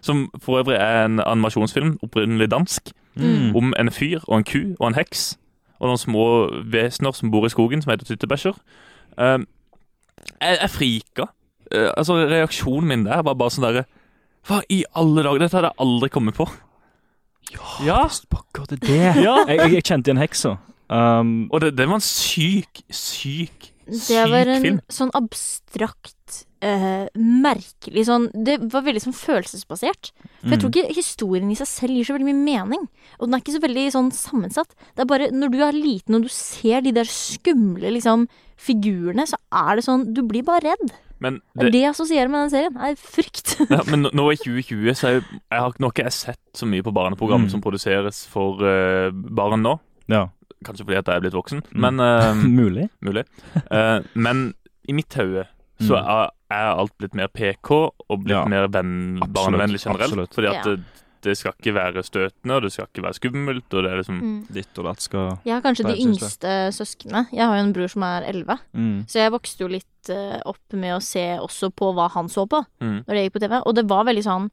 [SPEAKER 1] som for øvrig er en animasjonsfilm, opprinnelig dansk,
[SPEAKER 2] Mm.
[SPEAKER 1] om en fyr og en ku og en heks og noen små vesener som bor i skogen, som heter tyttebæsjer Eh, Jeg, jeg frika. Eh, altså, reaksjonen min der var bare sånn derre Hva i alle dager? Dette hadde jeg aldri kommet på. Ja.
[SPEAKER 2] Pokker, det er det.
[SPEAKER 1] Ja.
[SPEAKER 2] Jeg, jeg, jeg kjente igjen heksa. Um,
[SPEAKER 1] Og det, det var en syk, syk,
[SPEAKER 3] Det var
[SPEAKER 1] syk
[SPEAKER 3] en
[SPEAKER 1] film.
[SPEAKER 3] sånn abstrakt, eh, merkelig sånn Det var veldig sånn følelsesbasert. For jeg tror ikke historien i seg selv gir så veldig mye mening. Og den er ikke så veldig sånn sammensatt. Det er bare når du er liten og du ser de der skumle liksom figurene, så er det sånn Du blir bare redd.
[SPEAKER 1] Men
[SPEAKER 3] Det er det jeg assosierer med den serien, er frykt.
[SPEAKER 1] Ja, men nå- nå i 2020 så er jo- jeg har nå har ikke jeg sett så mye på barneprogram
[SPEAKER 2] Mm.
[SPEAKER 1] som produseres for eh, barn nå.
[SPEAKER 2] ja.
[SPEAKER 1] Kanskje fordi at jeg er blitt voksen,
[SPEAKER 2] Mm.
[SPEAKER 1] men eh,
[SPEAKER 2] Mulig.
[SPEAKER 1] mulig. Eh, men i mitt hode så
[SPEAKER 2] Mm.
[SPEAKER 1] er, er alt blitt mer PK og blitt
[SPEAKER 2] Ja.
[SPEAKER 1] mer venn,
[SPEAKER 2] Absolutt,
[SPEAKER 1] barnevennlig generelt.
[SPEAKER 2] absolutt.
[SPEAKER 1] Fordi at
[SPEAKER 3] Ja.
[SPEAKER 1] det, det skal ikke være støtende, og det skal ikke være skummelt, og det er liksom
[SPEAKER 3] Mm.
[SPEAKER 2] Ditt og datt skal
[SPEAKER 3] Jeg er kanskje
[SPEAKER 2] Hva
[SPEAKER 3] de
[SPEAKER 2] syns du?
[SPEAKER 3] yngste søsknene. Jeg har jo en bror som er elleve.
[SPEAKER 2] mm.
[SPEAKER 3] Så jeg vokste jo litt eh, opp med å se også på hva han så på
[SPEAKER 1] Mm.
[SPEAKER 3] når det gikk på TV. Og det var veldig sånn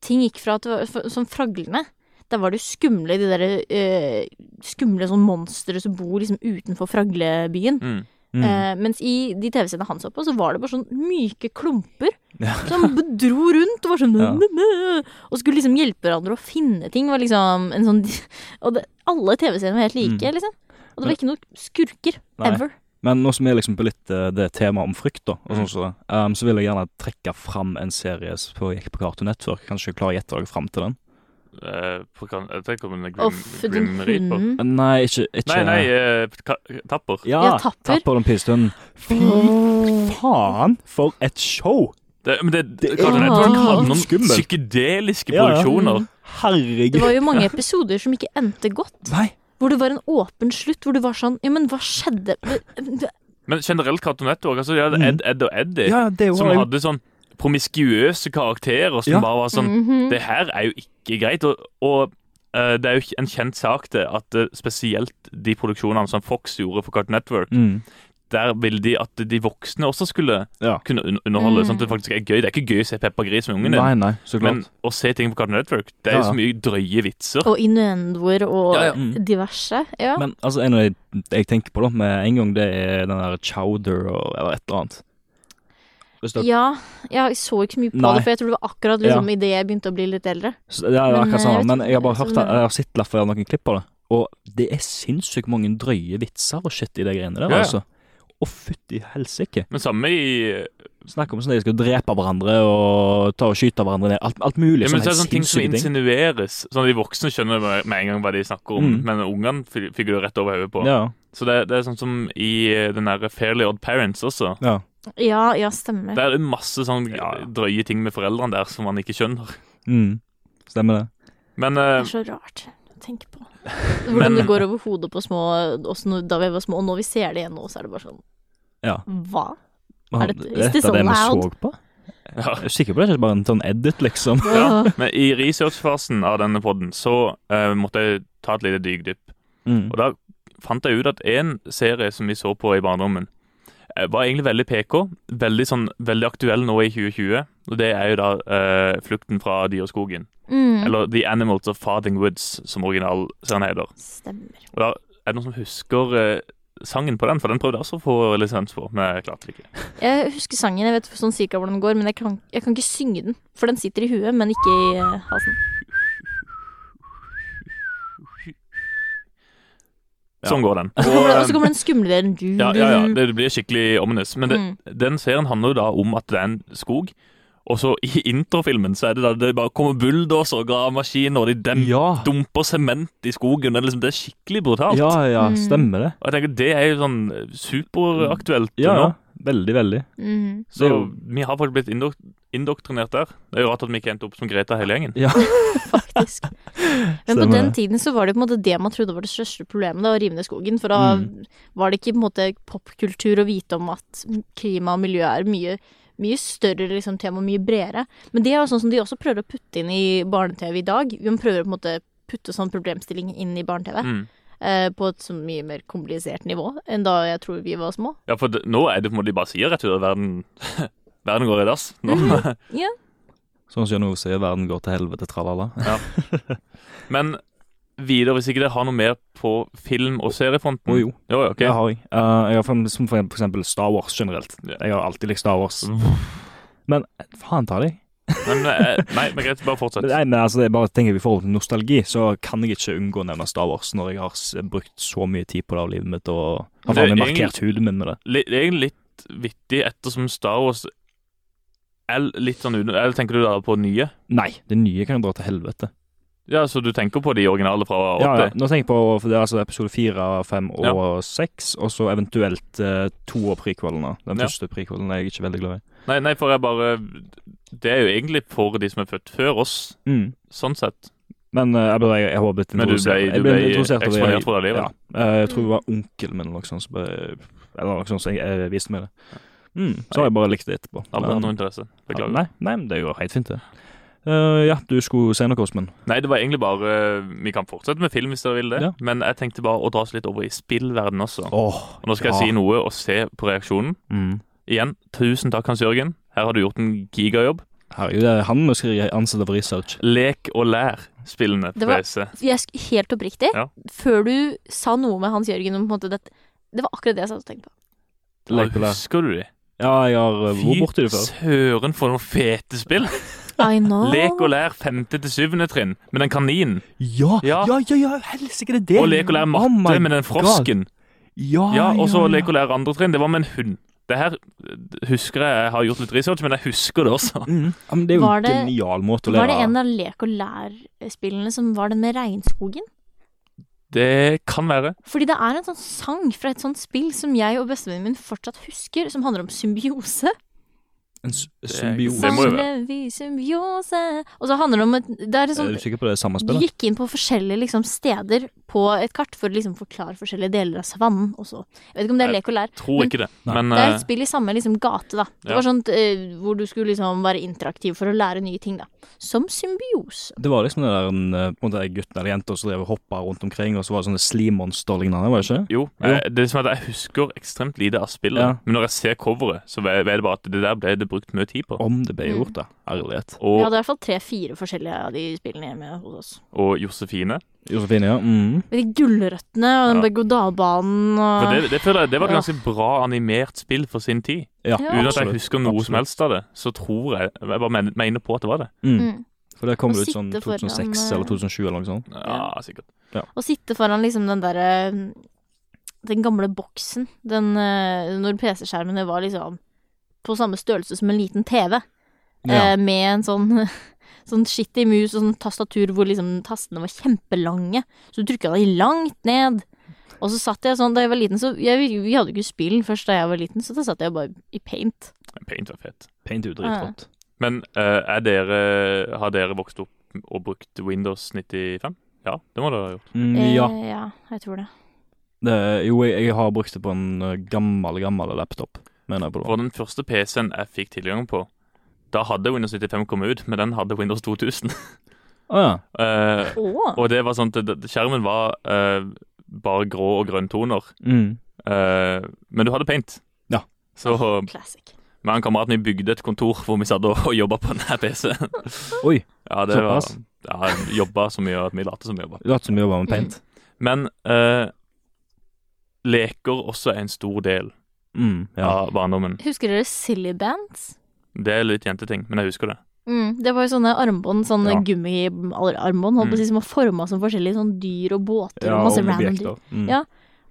[SPEAKER 3] Ting gikk fra at det var f- sånn fraglene. Der var det jo skumle, de derre eh, skumle sånn monstre som bor liksom utenfor fraglebyen.
[SPEAKER 1] Mm.
[SPEAKER 2] Mm.
[SPEAKER 3] Eh, mens i de TV-scenene han så på, så var det bare sånn myke klumper
[SPEAKER 2] Ja.
[SPEAKER 3] som dro rundt og var sånn
[SPEAKER 2] Ja.
[SPEAKER 3] «Mø, mø», Og skulle liksom hjelpe hverandre å finne ting. Var liksom en sånn, og det, alle TV-scenene var helt like,
[SPEAKER 2] Mm.
[SPEAKER 3] liksom. Og det
[SPEAKER 2] Men-
[SPEAKER 3] var ikke noen skurker.
[SPEAKER 2] Nei.
[SPEAKER 3] Ever.
[SPEAKER 2] Men nå som er liksom på litt eh, det temaet om frykt, da,
[SPEAKER 3] Mm.
[SPEAKER 2] og sånn som det, ehm, så vil jeg gjerne trekke fram en serie som gikk på Cartoon Network. Kanskje jeg klarer å gjette dere fram til den?
[SPEAKER 1] Eh, for kan- jeg tenker på den
[SPEAKER 3] Uff,
[SPEAKER 1] grim,
[SPEAKER 3] den
[SPEAKER 1] grim reaper.
[SPEAKER 3] hunden.
[SPEAKER 2] Nei, ikke, ikke
[SPEAKER 1] Nei, nei, eh, ka tapper.
[SPEAKER 2] Ja,
[SPEAKER 3] Ja, Tapper.
[SPEAKER 2] Tapper den pilstunden. Fy faen, for et show!
[SPEAKER 1] Det, men det,
[SPEAKER 2] Det er
[SPEAKER 1] Cartoon Network handler om
[SPEAKER 2] skummelt. Mm.
[SPEAKER 1] psykedeliske
[SPEAKER 2] Ja, ja.
[SPEAKER 1] produksjoner.
[SPEAKER 2] Herregud.
[SPEAKER 3] Det var jo mange episoder som ikke endte godt.
[SPEAKER 2] Nei,
[SPEAKER 3] Hvor det var en åpen slutt, hvor du var sånn Ja, men hva skjedde?
[SPEAKER 1] Men generelt Cartoon Network. Altså, de hadde
[SPEAKER 2] Mm.
[SPEAKER 1] Ed, Ed og Eddie,
[SPEAKER 2] Ja, det er jo
[SPEAKER 1] som hadde sånn promiskuøse karakterer som
[SPEAKER 2] Ja. Mm-hmm.
[SPEAKER 1] bare var sånn
[SPEAKER 3] Mhm.
[SPEAKER 1] Det her er jo ikke greit. Og, og eh, det er jo ikke en kjent sak det at eh, spesielt de produksjonene som Fox gjorde for Cartoon Network,
[SPEAKER 2] mm.
[SPEAKER 1] der ville de at de voksne også skulle
[SPEAKER 2] Ja.
[SPEAKER 1] kunne un underholde.
[SPEAKER 3] Mm.
[SPEAKER 1] Sånn at det faktisk er gøy. Det er ikke gøy å se Peppa Gris med ungen din.
[SPEAKER 2] Nei, nei, så
[SPEAKER 1] Men
[SPEAKER 2] klart.
[SPEAKER 1] å se ting på Cartoon Network, det er jo
[SPEAKER 2] Ja, ja.
[SPEAKER 1] så mye drøye vitser.
[SPEAKER 3] Og innuendoer og
[SPEAKER 1] Ja, ja.
[SPEAKER 2] Mm.
[SPEAKER 3] diverse. Ja.
[SPEAKER 2] Men altså, en av de jeg tenker på da, med en gang, det er den der chowder og, eller et eller annet. Hvis det,
[SPEAKER 3] ja, jeg så ikke så mye på
[SPEAKER 2] Nei.
[SPEAKER 3] det, for jeg tror det var akkurat liksom, idet jeg begynte å bli litt eldre.
[SPEAKER 2] så, ja, det er akkurat
[SPEAKER 3] Men, eh, jeg
[SPEAKER 2] samme,
[SPEAKER 3] vet
[SPEAKER 2] men
[SPEAKER 3] ikke
[SPEAKER 2] jeg har bare
[SPEAKER 3] hva
[SPEAKER 2] hørt
[SPEAKER 3] som
[SPEAKER 2] det,
[SPEAKER 3] er-
[SPEAKER 2] jeg har sett i hvert fall noen klipp av det. Og det er sinnssykt mange drøye vitser og shit i de greiene der,
[SPEAKER 1] Ja, ja.
[SPEAKER 2] altså. Å, fytti helsike.
[SPEAKER 1] Men samme i
[SPEAKER 2] Snakk om sånn at de skal drepe hverandre og ta og skyte hverandre ned. Alt, alt mulig.
[SPEAKER 1] ja, men så er
[SPEAKER 2] sånne
[SPEAKER 1] det
[SPEAKER 2] helt
[SPEAKER 1] sånne ting som
[SPEAKER 2] sinnssyke ting.
[SPEAKER 1] insinueres. Sånn at De voksne skjønner med med en gang hva de snakker om,
[SPEAKER 2] Mm.
[SPEAKER 1] men ungene fi- figurer rett over hodet på.
[SPEAKER 2] Ja,
[SPEAKER 1] Så det, det er sånn som i eh, den derre Fairly Odd Parents også.
[SPEAKER 2] ja.
[SPEAKER 3] Ja, ja, stemmer.
[SPEAKER 1] Det er masse sånn
[SPEAKER 2] Ja, ja.
[SPEAKER 1] drøye ting med foreldrene der som man ikke skjønner.
[SPEAKER 2] Mm. Stemmer det.
[SPEAKER 1] Men
[SPEAKER 3] Det
[SPEAKER 1] eh,
[SPEAKER 3] er så rart å tenke på. Hvordan
[SPEAKER 1] Men-
[SPEAKER 3] det går over hodet på små også når, da vi var små, og når vi ser det igjen nå, så er det bare sånn
[SPEAKER 2] Ja.
[SPEAKER 3] Hva? Er det-
[SPEAKER 2] Dette
[SPEAKER 3] is this
[SPEAKER 2] det vi
[SPEAKER 3] allowed?
[SPEAKER 2] så på?
[SPEAKER 1] ja.
[SPEAKER 2] Jeg er sikker på det er ikke bare en sånn edit, liksom.
[SPEAKER 1] Ja, men i researchfasen av denne podden så eh, måtte jeg ta et lite dykdypp.
[SPEAKER 2] Mm.
[SPEAKER 1] Og da fant jeg ut at én serie som vi så på i barndommen, eh, var egentlig veldig PK. Veldig, sånn, veldig aktuell nå i 2020. Og det er jo da eh, 'Flukten fra dyreskogen'.
[SPEAKER 3] Mm.
[SPEAKER 1] Eller 'The Animals of Farthing Woods', som originalserien heter.
[SPEAKER 3] Stemmer.
[SPEAKER 1] Og da er det noen som husker eh, sangen på den, for den prøvde jeg også å få lisens på, men jeg klarte det ikke.
[SPEAKER 3] Jeg husker sangen, jeg vet sånn cirka hvordan den går, men jeg kan, jeg kan ikke synge den. For den sitter i huet, men ikke i eh, halsen.
[SPEAKER 2] Ja.
[SPEAKER 1] Sånn går den.
[SPEAKER 3] Og så kommer, det-
[SPEAKER 1] eh,
[SPEAKER 3] og så kommer den skumle delen du,
[SPEAKER 1] Ja, ja,
[SPEAKER 2] Mm.
[SPEAKER 1] ja. Det blir skikkelig ominous. Men det,
[SPEAKER 3] Mm.
[SPEAKER 1] den serien handler jo da om at det er en skog. Og så i introfilmen så er det da det bare kommer bulldosere og gravemaskiner, og de dem,
[SPEAKER 2] Ja.
[SPEAKER 1] dumper sement i skogen. Det er, liksom, det er skikkelig brutalt.
[SPEAKER 2] ja, ja,
[SPEAKER 3] Mm.
[SPEAKER 2] stemmer det.
[SPEAKER 1] Og jeg tenker, Det er jo sånn superaktuelt
[SPEAKER 2] Ja,
[SPEAKER 1] nå.
[SPEAKER 2] ja. Veldig, veldig.
[SPEAKER 3] Mhm.
[SPEAKER 1] Så
[SPEAKER 2] Det er jo-
[SPEAKER 1] vi har faktisk blitt indok indoktrinert der. Det er jo rart at vi ikke endte opp som Greta hele gjengen.
[SPEAKER 2] Ja.
[SPEAKER 3] faktisk. Men på
[SPEAKER 2] Stemmer
[SPEAKER 3] den
[SPEAKER 2] det.
[SPEAKER 3] tiden så var det på en måte det man trodde var det største problemet, da, å rive ned skogen. For da
[SPEAKER 2] Mm.
[SPEAKER 3] var det ikke på en måte popkultur å vite om at klima og miljø er mye, mye større liksom, tema, mye bredere. Men det er jo sånn som de også prøver å putte inn i barne-TV i dag. Man prøver å på en måte putte sånn problemstilling inn i barne-TV.
[SPEAKER 1] Mm.
[SPEAKER 3] Eh, på et så mye mer komplisert nivå enn da jeg tror vi var små.
[SPEAKER 1] Ja, for det, nå er det på en måte de bare sier rett ut at verden, verden går i dass. Nå.
[SPEAKER 2] Sånn som Jan Ove sier, verden går til helvete, tralala.
[SPEAKER 1] Mm. Men videre, hvis ikke dere har noe mer på film- og seriefronten
[SPEAKER 2] Å Oh, jo,
[SPEAKER 1] Jo, jo, ok.
[SPEAKER 2] det har jeg. Eh, jeg har for, som for for eksempel Star Wars generelt.
[SPEAKER 1] Ja. Mm.
[SPEAKER 2] Jeg har alltid likt Star Wars. Men faen ta deg.
[SPEAKER 1] Nei, men, eh, nei, men greit, bare fortsett.
[SPEAKER 2] Nei, men altså, det er bare tenker vi i forhold til nostalgi, så kan jeg ikke unngå å nevne Star Wars når jeg har s- brukt så mye tid på det av livet mitt og har
[SPEAKER 1] Det er
[SPEAKER 2] faen meg
[SPEAKER 1] egentlig-
[SPEAKER 2] markert huden min med det.
[SPEAKER 1] Li- Det er egentlig litt vittig ettersom Star Wars er litt sånn uten Eller tenker du da på nye?
[SPEAKER 2] Nei, det nye kan jo dra til helvete.
[SPEAKER 1] Ja, så du tenker på de originale fra 80?
[SPEAKER 2] Ja, ja. Nå tenker jeg på for det er altså episode fire, fem og seks, og så eventuelt eh, to av prequelene. Den
[SPEAKER 1] Ja.
[SPEAKER 2] første prequelen er jeg ikke veldig glad i.
[SPEAKER 1] Nei, nei, for jeg bare Det er jo egentlig for de som er født før oss,
[SPEAKER 2] Mm.
[SPEAKER 1] sånn sett.
[SPEAKER 2] Men eh, jeg ble, jeg, har blitt
[SPEAKER 1] Men du ble,
[SPEAKER 2] introdusert-
[SPEAKER 1] du
[SPEAKER 2] jeg
[SPEAKER 1] ble
[SPEAKER 2] introdusert av det-
[SPEAKER 1] eksponert for det
[SPEAKER 2] Ja,
[SPEAKER 1] livet.
[SPEAKER 2] eh, jeg tror det var onkelen min eller noe sånt som bare- eller noe sånt som jeg, eh, viste meg det. Mm, så har jeg bare likt det etterpå.
[SPEAKER 1] Aldri hatt
[SPEAKER 2] Men-
[SPEAKER 1] noe interesse.
[SPEAKER 2] ja,
[SPEAKER 1] Beklager.
[SPEAKER 2] nei, nei, men det er jo helt fint, det. Eh, ja, du skulle si noe, Åsmund.
[SPEAKER 1] Nei, det var egentlig bare eh, Vi kan fortsette med film hvis dere vil det,
[SPEAKER 2] Ja.
[SPEAKER 1] men jeg tenkte bare å dra oss litt over i spillverden også.
[SPEAKER 2] Åh,
[SPEAKER 1] Og nå skal
[SPEAKER 2] ja.
[SPEAKER 1] jeg si noe og se på reaksjonen.
[SPEAKER 2] Mm.
[SPEAKER 1] Igjen, tusen takk, Hans Jørgen. Her har du gjort en gigajobb.
[SPEAKER 2] Herregud, det er han vi skal ansette for research.
[SPEAKER 1] Lek og lær spillene på E.
[SPEAKER 3] Det var-
[SPEAKER 1] PC.
[SPEAKER 3] Jeg, sk- helt oppriktig,
[SPEAKER 1] Ja.
[SPEAKER 3] før du sa noe med Hans Jørgen om på en måte dette Det var akkurat det jeg satt og tenkte på.
[SPEAKER 1] Ja,
[SPEAKER 2] Lek og lær.
[SPEAKER 1] Husker du de?
[SPEAKER 2] Ja, jeg har eh, vært borti det før.
[SPEAKER 1] søren for noen fete spill!
[SPEAKER 3] I know.
[SPEAKER 1] Lek og lær femte til syvende trinn med den kaninen.
[SPEAKER 2] Ja,
[SPEAKER 1] Ja.
[SPEAKER 2] ja, ja, ja helsike, det er det!
[SPEAKER 1] Og lek og lær
[SPEAKER 2] Oh my
[SPEAKER 1] matte med den frosken.
[SPEAKER 2] Ja,
[SPEAKER 1] Ja, Og så
[SPEAKER 2] ja, ja.
[SPEAKER 1] lek og lær andre trinn. Det var med en hund. Det her eh, husker jeg, jeg har gjort litt research, men jeg husker det også.
[SPEAKER 2] Mm. Ja, men det er jo
[SPEAKER 3] Var
[SPEAKER 2] en
[SPEAKER 3] det-
[SPEAKER 2] genial måte å lære
[SPEAKER 3] Var det en av lek og lær-spillene som var den med regnskogen?
[SPEAKER 1] Det kan være.
[SPEAKER 3] Fordi det er en sånn sang fra et sånt spill som jeg og bestevennen min fortsatt husker, som handler om symbiose.
[SPEAKER 2] En s-
[SPEAKER 1] er-
[SPEAKER 2] symbiose.
[SPEAKER 1] det må jo være.
[SPEAKER 3] Sammen vi symbiose Og så handler det om et, Det er liksom
[SPEAKER 2] Er du sikker på det samme
[SPEAKER 3] De
[SPEAKER 2] spillet?
[SPEAKER 3] gikk inn på forskjellige liksom, steder på et kart for å liksom, forklare forskjellige deler av savannen også. Jeg vet ikke om det er
[SPEAKER 1] Nei,
[SPEAKER 3] lek og lær.
[SPEAKER 1] Tror
[SPEAKER 3] Men-
[SPEAKER 1] ikke det.
[SPEAKER 2] Nei.
[SPEAKER 1] Men
[SPEAKER 3] Det er
[SPEAKER 1] eh,
[SPEAKER 3] et spill i samme liksom, gate, da. Det
[SPEAKER 1] Ja.
[SPEAKER 3] var sånt eh, hvor du skulle liksom, være interaktiv for å lære nye ting, da. Som symbiose.
[SPEAKER 2] Det var liksom det der en, eh, på en måte, gutten eller jenta som drev og hoppa rundt omkring, og så var det sånne slimmonster-lignende, var det ikke?
[SPEAKER 1] jo, eh, det er som at jeg husker ekstremt lite av spillet.
[SPEAKER 2] Ja.
[SPEAKER 1] Men når jeg ser coveret, så vet vet jeg bare at det der ble det brukt mye tid på.
[SPEAKER 2] Om det ble
[SPEAKER 3] Mm.
[SPEAKER 2] gjort, da. Ærlighet.
[SPEAKER 3] Vi
[SPEAKER 1] Og,
[SPEAKER 3] hadde i hvert fall tre-fire forskjellige av de spillene hjemme hos oss.
[SPEAKER 1] og Josefine.
[SPEAKER 2] Josefine, ja. Mm.
[SPEAKER 3] Med de gulrøttene
[SPEAKER 1] Ja.
[SPEAKER 3] og den berg-og-dal-banen og
[SPEAKER 1] For det, det føler jeg det var et
[SPEAKER 3] Ja.
[SPEAKER 1] ganske bra animert spill for sin tid.
[SPEAKER 2] Ja,
[SPEAKER 3] Ja.
[SPEAKER 1] Uten at jeg
[SPEAKER 2] absolutt.
[SPEAKER 1] husker noe som
[SPEAKER 2] Absolutt.
[SPEAKER 1] helst av det, så tror jeg Jeg bare men- mener på at det var det.
[SPEAKER 2] Mm.
[SPEAKER 3] Mm.
[SPEAKER 2] For det kom
[SPEAKER 3] Å
[SPEAKER 2] det ut sånn
[SPEAKER 3] sitte foran,
[SPEAKER 2] 2006
[SPEAKER 3] eh,
[SPEAKER 2] eller 2007 eller noe sånt.
[SPEAKER 1] Ja, sikkert.
[SPEAKER 3] Å sitte foran liksom den derre Den gamle boksen. Den eh, Når PC-skjermene var liksom på samme størrelse som en liten TV.
[SPEAKER 2] Ja.
[SPEAKER 3] Eh, med en sånn Sånn skittig mus og sånn tastatur hvor liksom tastene var kjempelange. Så du trykka deg langt ned. Og så satt jeg sånn da jeg var liten, så jeg, Vi hadde jo ikke spill først da jeg var liten, så da satt jeg bare i paint.
[SPEAKER 1] Paint var fett.
[SPEAKER 2] Paint er jo dritrått.
[SPEAKER 1] Men eh, er dere, har dere vokst opp og brukt Windows 95? Ja, det må dere ha gjort.
[SPEAKER 2] Mm,
[SPEAKER 3] Eh,
[SPEAKER 2] ja.
[SPEAKER 3] ja, jeg tror det.
[SPEAKER 2] Det, jo, jeg, jeg har brukt det på en eh, gammel, gammel laptop, mener jeg på det.
[SPEAKER 1] For den første PC-en jeg fikk tilgang på, da hadde Windows 95 kommet ut, men den hadde Windows 2000.
[SPEAKER 2] Å ja.
[SPEAKER 1] Eh,
[SPEAKER 3] Å!
[SPEAKER 1] og det var sånn at det- skjermen var eh, bare grå og grønntoner,
[SPEAKER 2] Mm.
[SPEAKER 1] eh, men du hadde paint.
[SPEAKER 2] Ja.
[SPEAKER 1] Så
[SPEAKER 3] Classic.
[SPEAKER 1] meg og en kamerat vi bygde et kontor hvor vi satt og, og jobba på denne PC-en.
[SPEAKER 2] Oi,
[SPEAKER 1] Ja, det var
[SPEAKER 2] Såpass.
[SPEAKER 1] ja, jobba så mye at vi lot som vi jobba.
[SPEAKER 2] lat som vi jobber med paint.
[SPEAKER 1] Men eh, leker også er en stor del
[SPEAKER 2] Mm. Ja.
[SPEAKER 1] av barndommen.
[SPEAKER 3] Husker dere Silly Bands?
[SPEAKER 1] Det er litt jenteting, men jeg husker det.
[SPEAKER 3] Mm, det var jo sånne armbånd, sånne
[SPEAKER 2] Ja. Mm.
[SPEAKER 3] gummiarmbånd, holdt på å si, som var forma som forskjellige sånn dyr og båter og masse random dyr.
[SPEAKER 2] Mm.
[SPEAKER 3] Ja.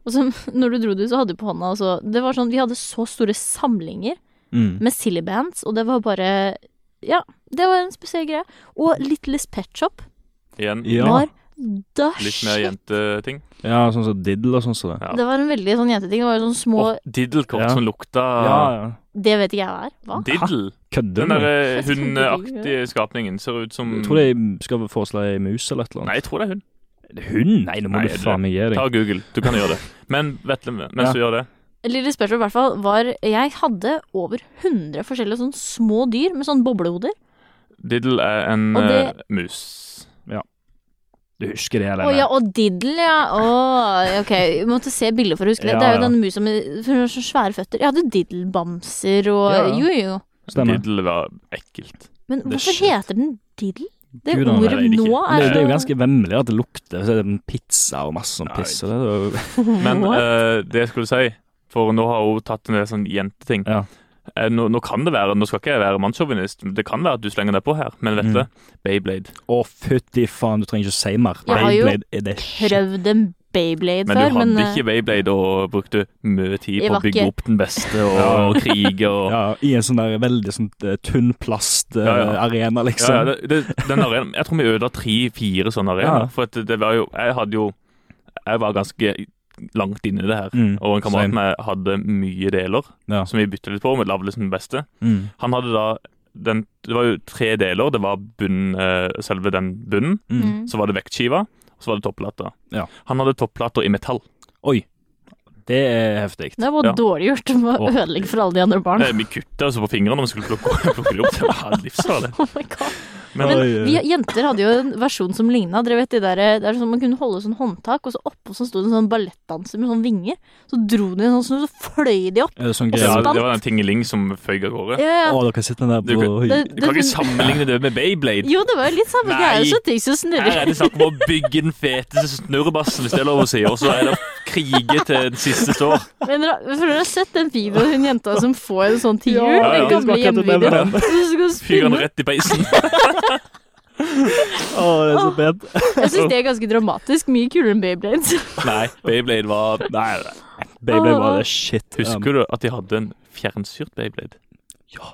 [SPEAKER 3] Og så når du dro det ut, så hadde du på hånda også Det var sånn, Vi hadde så store samlinger
[SPEAKER 2] Mm.
[SPEAKER 3] med silly bands, og det var bare Ja, det var en spesiell greie. Og Littles Pet Shop
[SPEAKER 1] Igjen,
[SPEAKER 2] Ja.
[SPEAKER 3] var
[SPEAKER 1] litt mer
[SPEAKER 3] dash.
[SPEAKER 1] jenteting.
[SPEAKER 2] ja, sånn som diddle og sånn som det.
[SPEAKER 1] Ja.
[SPEAKER 3] Det var en veldig sånn jenteting. Det var jo sånn små
[SPEAKER 1] Og diddelkort
[SPEAKER 2] Ja.
[SPEAKER 1] som lukta
[SPEAKER 2] Ja, ja.
[SPEAKER 3] Det vet ikke jeg hva er. Hva?
[SPEAKER 1] Diddel.
[SPEAKER 2] Kødder
[SPEAKER 1] Den
[SPEAKER 2] du? med?
[SPEAKER 1] der eh,
[SPEAKER 3] Jeg tror det er
[SPEAKER 1] hundeaktige skapningen ser ut som
[SPEAKER 2] Jeg tror de skal foreslå ei mus eller et eller
[SPEAKER 1] Nei,
[SPEAKER 2] annet.
[SPEAKER 1] jeg tror det er hund.
[SPEAKER 2] Hund? Nei, nå må
[SPEAKER 1] Nei,
[SPEAKER 2] du
[SPEAKER 1] det-
[SPEAKER 2] faen meg gi deg.
[SPEAKER 1] Ta og Google, du kan gjøre det. Men vet du, mens
[SPEAKER 2] Ja.
[SPEAKER 1] du gjør det
[SPEAKER 3] Lille Special i hvert fall var Jeg hadde over 100 forskjellige sånn små dyr med sånn boblehoder.
[SPEAKER 1] Diddel er en
[SPEAKER 3] Og det-
[SPEAKER 1] eh, mus.
[SPEAKER 2] Du husker det,
[SPEAKER 3] Å
[SPEAKER 2] eller?
[SPEAKER 3] ja, og diddel, ja. Å, ok, jeg måtte se bilder for å huske det.
[SPEAKER 2] Ja,
[SPEAKER 3] det er jo
[SPEAKER 2] ja.
[SPEAKER 3] den musa med for hun har så svære føtter. Jeg hadde diddelbamser og
[SPEAKER 2] Ja, ja.
[SPEAKER 3] Jo, jo.
[SPEAKER 2] Stemmer.
[SPEAKER 1] Diddel var ekkelt.
[SPEAKER 3] Men
[SPEAKER 2] Det er
[SPEAKER 3] hvorfor
[SPEAKER 2] shit.
[SPEAKER 3] heter den diddel? Det
[SPEAKER 2] Gud, han
[SPEAKER 3] ordet
[SPEAKER 1] er det ikke.
[SPEAKER 3] nå
[SPEAKER 2] Det,
[SPEAKER 3] er
[SPEAKER 2] det er jo ganske vemmelig at det lukter så er det en pizza og masse sånn
[SPEAKER 1] Nei.
[SPEAKER 2] piss. og Det er jo
[SPEAKER 1] Men
[SPEAKER 3] What?
[SPEAKER 1] eh, det jeg skulle si, for nå har hun tatt en del sånn jenteting
[SPEAKER 2] Ja.
[SPEAKER 1] Eh, nå, nå kan det være, nå skal ikke jeg være mannssjåvinist, men det kan være at du slenger deg på her, men vet
[SPEAKER 2] Mm.
[SPEAKER 1] du, Beyblade.
[SPEAKER 2] Å, fytti faen, du trenger ikke si mer.
[SPEAKER 3] Jeg har jo
[SPEAKER 2] Beyblade er det shit.
[SPEAKER 3] Prøvd en Bayblade
[SPEAKER 1] Men du
[SPEAKER 3] før,
[SPEAKER 1] hadde
[SPEAKER 3] men eh,
[SPEAKER 1] ikke Beyblade og brukte mye tid
[SPEAKER 3] Jeg
[SPEAKER 1] på
[SPEAKER 3] var
[SPEAKER 1] å bygge
[SPEAKER 3] ikke-
[SPEAKER 1] opp den beste og, og krige og
[SPEAKER 2] Ja, I en sånn der veldig sånn eh, tynn plastarena,
[SPEAKER 1] Ja, ja.
[SPEAKER 2] arena liksom.
[SPEAKER 1] Ja, ja, det, det, den arenaen, jeg tror vi ødela tre-fire sånne arenaer.
[SPEAKER 2] Ja.
[SPEAKER 1] For at det, det var jo Jeg hadde jo Jeg var ganske langt inne i det her.
[SPEAKER 2] Mm,
[SPEAKER 1] Og en kamerat
[SPEAKER 2] same.
[SPEAKER 1] med hadde mye deler,
[SPEAKER 2] Ja.
[SPEAKER 1] som vi bytta litt på. Vi lagde liksom det beste.
[SPEAKER 2] Mm.
[SPEAKER 1] Han hadde da den, Det var jo tre deler. Det var bunn, eh, selve den bunnen.
[SPEAKER 2] Mm.
[SPEAKER 3] mm.
[SPEAKER 1] Så var det vektskiva, og så var det topplata.
[SPEAKER 2] Ja.
[SPEAKER 1] Han hadde topplater i metall.
[SPEAKER 2] Oi. Det er heftig.
[SPEAKER 3] Det var
[SPEAKER 1] Ja.
[SPEAKER 3] dårlig gjort å
[SPEAKER 2] Å.
[SPEAKER 3] ødelegge for alle de andre
[SPEAKER 2] Ah.
[SPEAKER 3] barna.
[SPEAKER 1] Eh, Vi kutta oss på fingrene når vi skulle plukke, plukke det opp. Det var livsfarlig.
[SPEAKER 3] Oh my god.
[SPEAKER 1] Men-
[SPEAKER 3] Men
[SPEAKER 2] Oi, oi.
[SPEAKER 3] vi jenter hadde jo en versjon som ligna. Dere vet de der, det er sånn Man kunne holde sånn håndtak, og så oppå så sto det en sånn ballettdanser med sånn vinger. Så dro de sånn, sånn, så fløy de opp.
[SPEAKER 2] Er det sånn
[SPEAKER 1] Ja,
[SPEAKER 2] greie?
[SPEAKER 1] det var den tingeling som føyk av gårde.
[SPEAKER 3] Ja, ja.
[SPEAKER 2] Å, dere sitter der
[SPEAKER 1] Du
[SPEAKER 2] på
[SPEAKER 1] kan-
[SPEAKER 2] Oi.
[SPEAKER 1] Du kan ikke sammenligne det med Beyblade.
[SPEAKER 3] Jo, det var jo litt samme
[SPEAKER 1] Nei.
[SPEAKER 3] greie. Så ting som snurrer.
[SPEAKER 1] Her er det snakk om å bygge den feteste snurrebassen, hvis det er lov å si, og så er det å krige til den siste står.
[SPEAKER 3] Men dere, for dere har sett den videoen hun jenta som får en sånn tiur?
[SPEAKER 2] Ja,
[SPEAKER 1] ja, vi
[SPEAKER 3] den gamle
[SPEAKER 2] skal ikke nevne
[SPEAKER 3] hjemmevideoen.
[SPEAKER 2] den.
[SPEAKER 3] Så skal hun
[SPEAKER 1] Fyrer den
[SPEAKER 3] spinne.
[SPEAKER 1] rett i peisen.
[SPEAKER 2] Å, det er så pent.
[SPEAKER 3] Jeg syns det er ganske dramatisk. Mye kulere enn Beyblades.
[SPEAKER 1] Nei, Beyblade var
[SPEAKER 2] Nei, nei. Beyblade var det shit.
[SPEAKER 1] Husker du at de hadde en fjernstyrt Beyblade?
[SPEAKER 2] Ja.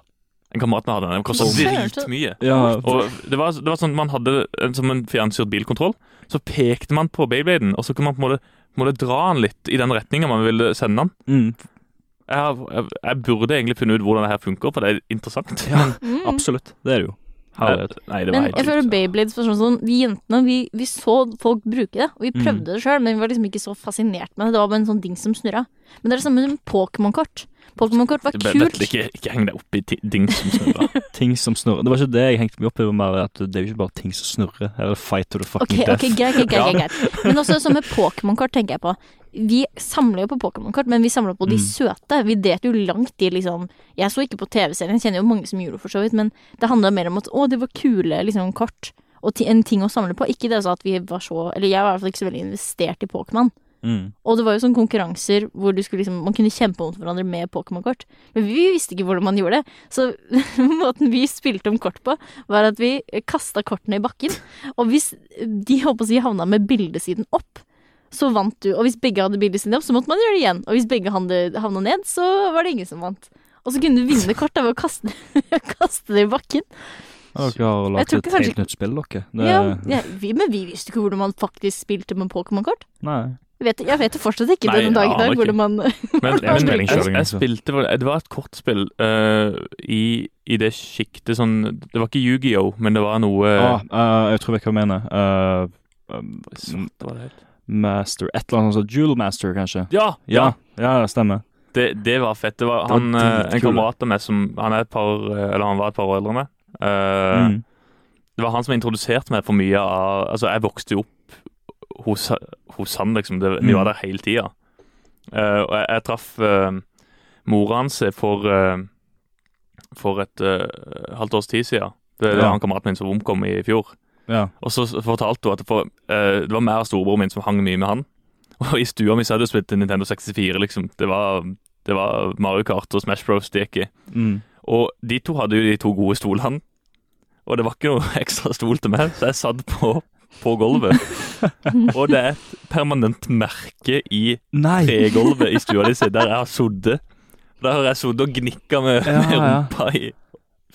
[SPEAKER 1] En kamerat med hadde den. Den kosta
[SPEAKER 3] Søren, så-
[SPEAKER 1] dritmye.
[SPEAKER 2] Ja.
[SPEAKER 1] Og det var, det var sånn at Man hadde en, som en fjernstyrt bilkontroll. Så pekte man på Beybladen, og så kunne man på en måte, på en måte dra den litt i den retninga man ville sende den.
[SPEAKER 2] Mm.
[SPEAKER 1] Jeg, har, jeg, jeg burde egentlig finne ut hvordan det her funker, for det er interessant.
[SPEAKER 3] Mm.
[SPEAKER 2] Absolutt. Det er det jo.
[SPEAKER 1] Nei, nei, det var
[SPEAKER 3] Men
[SPEAKER 1] helt
[SPEAKER 3] jeg føler
[SPEAKER 1] sykt.
[SPEAKER 3] Beyblades var sånn, sånn Vi jentene, vi, vi så folk bruke det, og vi
[SPEAKER 2] Mm.
[SPEAKER 3] prøvde det sjøl, men vi var liksom ikke så fascinert med det. Det var bare en sånn ding som snurra. Men det er det samme med Pokémon-kort. Pokémon-kort var
[SPEAKER 1] Det ble-
[SPEAKER 3] kult.
[SPEAKER 1] Vetle, Ikke, ikke heng deg opp i ti- ting som snurrer.
[SPEAKER 2] Ting som snurrer. Det var ikke det jeg hengte meg opp i. det var mer at Det er jo ikke bare ting som snurrer. Her er det fight to the fucking
[SPEAKER 3] Ok, ok,
[SPEAKER 2] death.
[SPEAKER 3] greit, greit, greit, greit, greit. Men også sånn med Pokémon-kort tenker jeg på. Vi samler jo på Pokémon-kort, men vi samler på de
[SPEAKER 2] Mm.
[SPEAKER 3] søte. Vi delte jo langt i liksom Jeg så ikke på TV-serien, kjenner jo mange som gjorde det for så vidt, men det handla mer om at å, det var kule liksom kort. Og ti- en ting å samle på. Ikke det altså at vi var så Eller jeg var i hvert fall ikke så veldig investert i Pokémon.
[SPEAKER 2] Mm.
[SPEAKER 3] Og det var jo sånne konkurranser hvor du skulle liksom, man kunne kjempe mot hverandre med Pokémon-kort. Men vi visste ikke hvordan man gjorde det. Så måten vi spilte om kort på, var at vi kasta kortene i bakken. Og hvis de håper å si, havna med bildesiden opp, så vant du. Og hvis begge hadde bildesiden opp, så måtte man gjøre det igjen. Og hvis begge hande- havna ned, så var det ingen som vant. Og så kunne du vinne kort da, ved å kaste, kaste det i bakken.
[SPEAKER 2] Ja, Dere har lagt
[SPEAKER 3] tror
[SPEAKER 2] et
[SPEAKER 3] ikke kanskje-
[SPEAKER 2] helt nytt spill, dere. Det...
[SPEAKER 3] Ja, ja, vi, men vi visste ikke hvordan man faktisk spilte med Pokémon-kort.
[SPEAKER 2] Nei.
[SPEAKER 3] Jeg vet, jeg vet det fortsatt ikke
[SPEAKER 1] Nei,
[SPEAKER 3] den dag i
[SPEAKER 1] jeg aner
[SPEAKER 3] dag.
[SPEAKER 1] ikke.
[SPEAKER 3] Hvordan man
[SPEAKER 1] Men,
[SPEAKER 2] har
[SPEAKER 1] men jeg,
[SPEAKER 2] spilling selv,
[SPEAKER 1] jeg, jeg
[SPEAKER 2] altså.
[SPEAKER 1] spilte vel Det var et kortspill eh, i, i det sjiktet sånn Det var ikke Yu-Gi-Oh, men det var noe
[SPEAKER 2] Ah, eh, jeg tror jeg vet hva jeg mener. Eh, um,
[SPEAKER 1] Svart, hva var det het?
[SPEAKER 2] master Et eller annet sånt. sånn Jewel Master, kanskje.
[SPEAKER 1] Ja! ja.
[SPEAKER 2] Ja, ja, det stemmer.
[SPEAKER 1] Det, det var fett. Det var,
[SPEAKER 2] Det var
[SPEAKER 1] han, eh, en
[SPEAKER 2] dritkult.
[SPEAKER 1] kamerat av meg som han, er et par, eh, eller han var et par år eldre enn meg. Eh,
[SPEAKER 2] Mm.
[SPEAKER 1] Det var han som introduserte meg for mye av Altså, jeg vokste jo opp hos, hos han, liksom. Det, Vi
[SPEAKER 2] Mm.
[SPEAKER 1] var der hele tida. Eh, og jeg, jeg traff uh, mora hans for eh, For et eh, halvt års tid siden. Det, det
[SPEAKER 2] Ja.
[SPEAKER 1] var han kameraten min som omkom i fjor.
[SPEAKER 2] Ja.
[SPEAKER 1] Og så s- fortalte hun at det, for, eh, det var mer av storebroren min som hang mye med han. Og i stua mi så hadde jeg spilt Nintendo 64, liksom. Det var, det var Mario Kart og Smash Bros. det gikk i.
[SPEAKER 2] Mm.
[SPEAKER 1] Og de to hadde jo de to gode stolene. Og det var ikke noe ekstra stol til meg, så jeg satt på, på gulvet. Og det er et permanent merke i
[SPEAKER 2] Nei!
[SPEAKER 1] tregulvet i stua di si, der jeg har sittet. Der har jeg sittet og gnikka med,
[SPEAKER 2] Ja,
[SPEAKER 1] med
[SPEAKER 2] ja.
[SPEAKER 1] rumpa i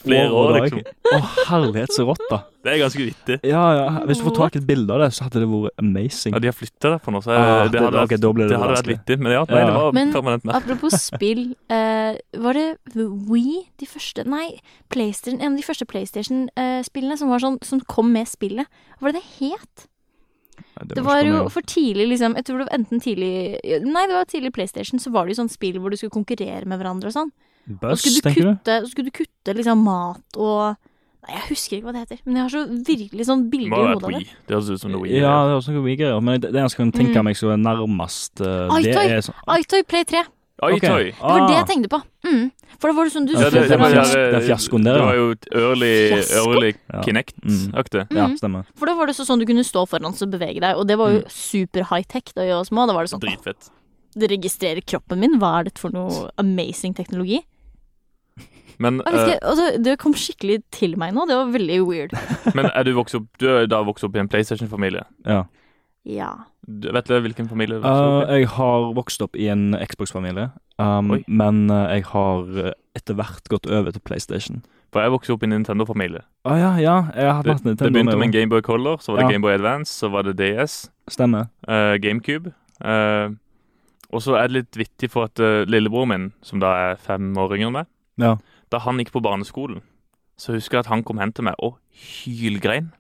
[SPEAKER 1] flere år,
[SPEAKER 2] Overdag.
[SPEAKER 1] liksom.
[SPEAKER 2] Å, herlighet, så rått, da.
[SPEAKER 1] Det er ganske vittig.
[SPEAKER 2] Ja, ja. Hvis du får tak i et bilde av det, så hadde det vært amazing.
[SPEAKER 1] Ja, de har flytta derfra nå, så jeg,
[SPEAKER 2] Ah,
[SPEAKER 1] det, hadde
[SPEAKER 2] ok,
[SPEAKER 1] vært,
[SPEAKER 2] da blir
[SPEAKER 1] det,
[SPEAKER 2] det
[SPEAKER 1] hadde vært
[SPEAKER 2] vanskelig.
[SPEAKER 1] vittig. Men ja, nei, det
[SPEAKER 2] altså. Ja.
[SPEAKER 1] var
[SPEAKER 3] Men-
[SPEAKER 1] permanent merke.
[SPEAKER 3] Apropos spill, eh, var det We, de første Nei, PlayStation, en av de første PlayStation-spillene som, var sånn, som kom med spillet. Hva var det det het?
[SPEAKER 2] Nei,
[SPEAKER 3] Det var
[SPEAKER 2] ikke
[SPEAKER 3] jo
[SPEAKER 2] noe mer.
[SPEAKER 3] for tidlig, liksom. Jeg tror det var enten tidlig Nei, det var tidlig PlayStation, så var det jo sånn spill hvor du skulle konkurrere med hverandre og sånn. Og
[SPEAKER 2] Buzz,
[SPEAKER 3] skulle du
[SPEAKER 2] tenker du?
[SPEAKER 3] kutte, så skulle du kutte liksom mat og Nei, jeg husker ikke hva det heter, men jeg har så virkelig sånn
[SPEAKER 1] Det
[SPEAKER 3] bilde
[SPEAKER 1] må
[SPEAKER 3] i
[SPEAKER 1] ha vært
[SPEAKER 3] hodet av det.
[SPEAKER 1] Wii. Det høres ut som noe Wii.
[SPEAKER 2] Ja, det er også noe greier, men det, det jeg skal tenke
[SPEAKER 3] Mm.
[SPEAKER 2] meg som er nærmest eh,
[SPEAKER 3] Oi,
[SPEAKER 2] Det
[SPEAKER 3] toi.
[SPEAKER 2] er sånn
[SPEAKER 3] Aitoy Play 3. Det
[SPEAKER 1] Oi,
[SPEAKER 2] Ok.
[SPEAKER 1] tøy.
[SPEAKER 2] Ah.
[SPEAKER 3] var det jeg tenkte på. Mm. For da var det sånn du
[SPEAKER 2] Ja,
[SPEAKER 1] Ja,
[SPEAKER 3] skulle
[SPEAKER 1] det, det,
[SPEAKER 2] var-
[SPEAKER 1] var,
[SPEAKER 3] fram-
[SPEAKER 2] det er fiaskoen der,
[SPEAKER 1] Det
[SPEAKER 2] ja.
[SPEAKER 1] var jo et early,
[SPEAKER 3] Fiasko?
[SPEAKER 1] early
[SPEAKER 2] Ja. Mm.
[SPEAKER 1] Kinect-aktig.
[SPEAKER 2] Ja,
[SPEAKER 3] Mm.
[SPEAKER 2] stemmer.
[SPEAKER 3] For da var det så sånn du kunne stå foran og bevege deg, og det var jo super high-tech da vi var små. Da var det sånn «Åh,
[SPEAKER 1] Dritfett.
[SPEAKER 3] Det registrerer kroppen min, hva er dette for noe amazing teknologi?
[SPEAKER 1] Men,
[SPEAKER 3] Jeg vet ikke, altså, Det kom skikkelig til meg nå, det var veldig weird.
[SPEAKER 1] eh, men er du vokst opp Du er da vokst opp i en PlayStation-familie.
[SPEAKER 2] Ja.
[SPEAKER 3] Ja.
[SPEAKER 1] Du- Vet du hvilken familie du vokste
[SPEAKER 2] Eh,
[SPEAKER 1] opp i?
[SPEAKER 2] jeg har vokst opp i en Xbox-familie, um,
[SPEAKER 1] Oi.
[SPEAKER 2] men eh, jeg har eh, etter hvert gått over til PlayStation.
[SPEAKER 1] For jeg vokste opp i en Nintendo-familie.
[SPEAKER 2] Å ja, ja. Jeg har
[SPEAKER 1] Det,
[SPEAKER 2] hatt
[SPEAKER 1] det
[SPEAKER 2] Nintendo
[SPEAKER 1] begynte med en
[SPEAKER 2] med.
[SPEAKER 1] Gameboy Color, så var det
[SPEAKER 2] Ja.
[SPEAKER 1] Gameboy Advance, så var det DS,
[SPEAKER 2] Stemmer.
[SPEAKER 1] eh, GameCube. eh, og så er det litt vittig for at eh, lillebroren min, som da er fem år yngre enn meg,
[SPEAKER 2] Ja.
[SPEAKER 1] da han gikk på barneskolen, så husker jeg at han kom hen til meg og hylgrein.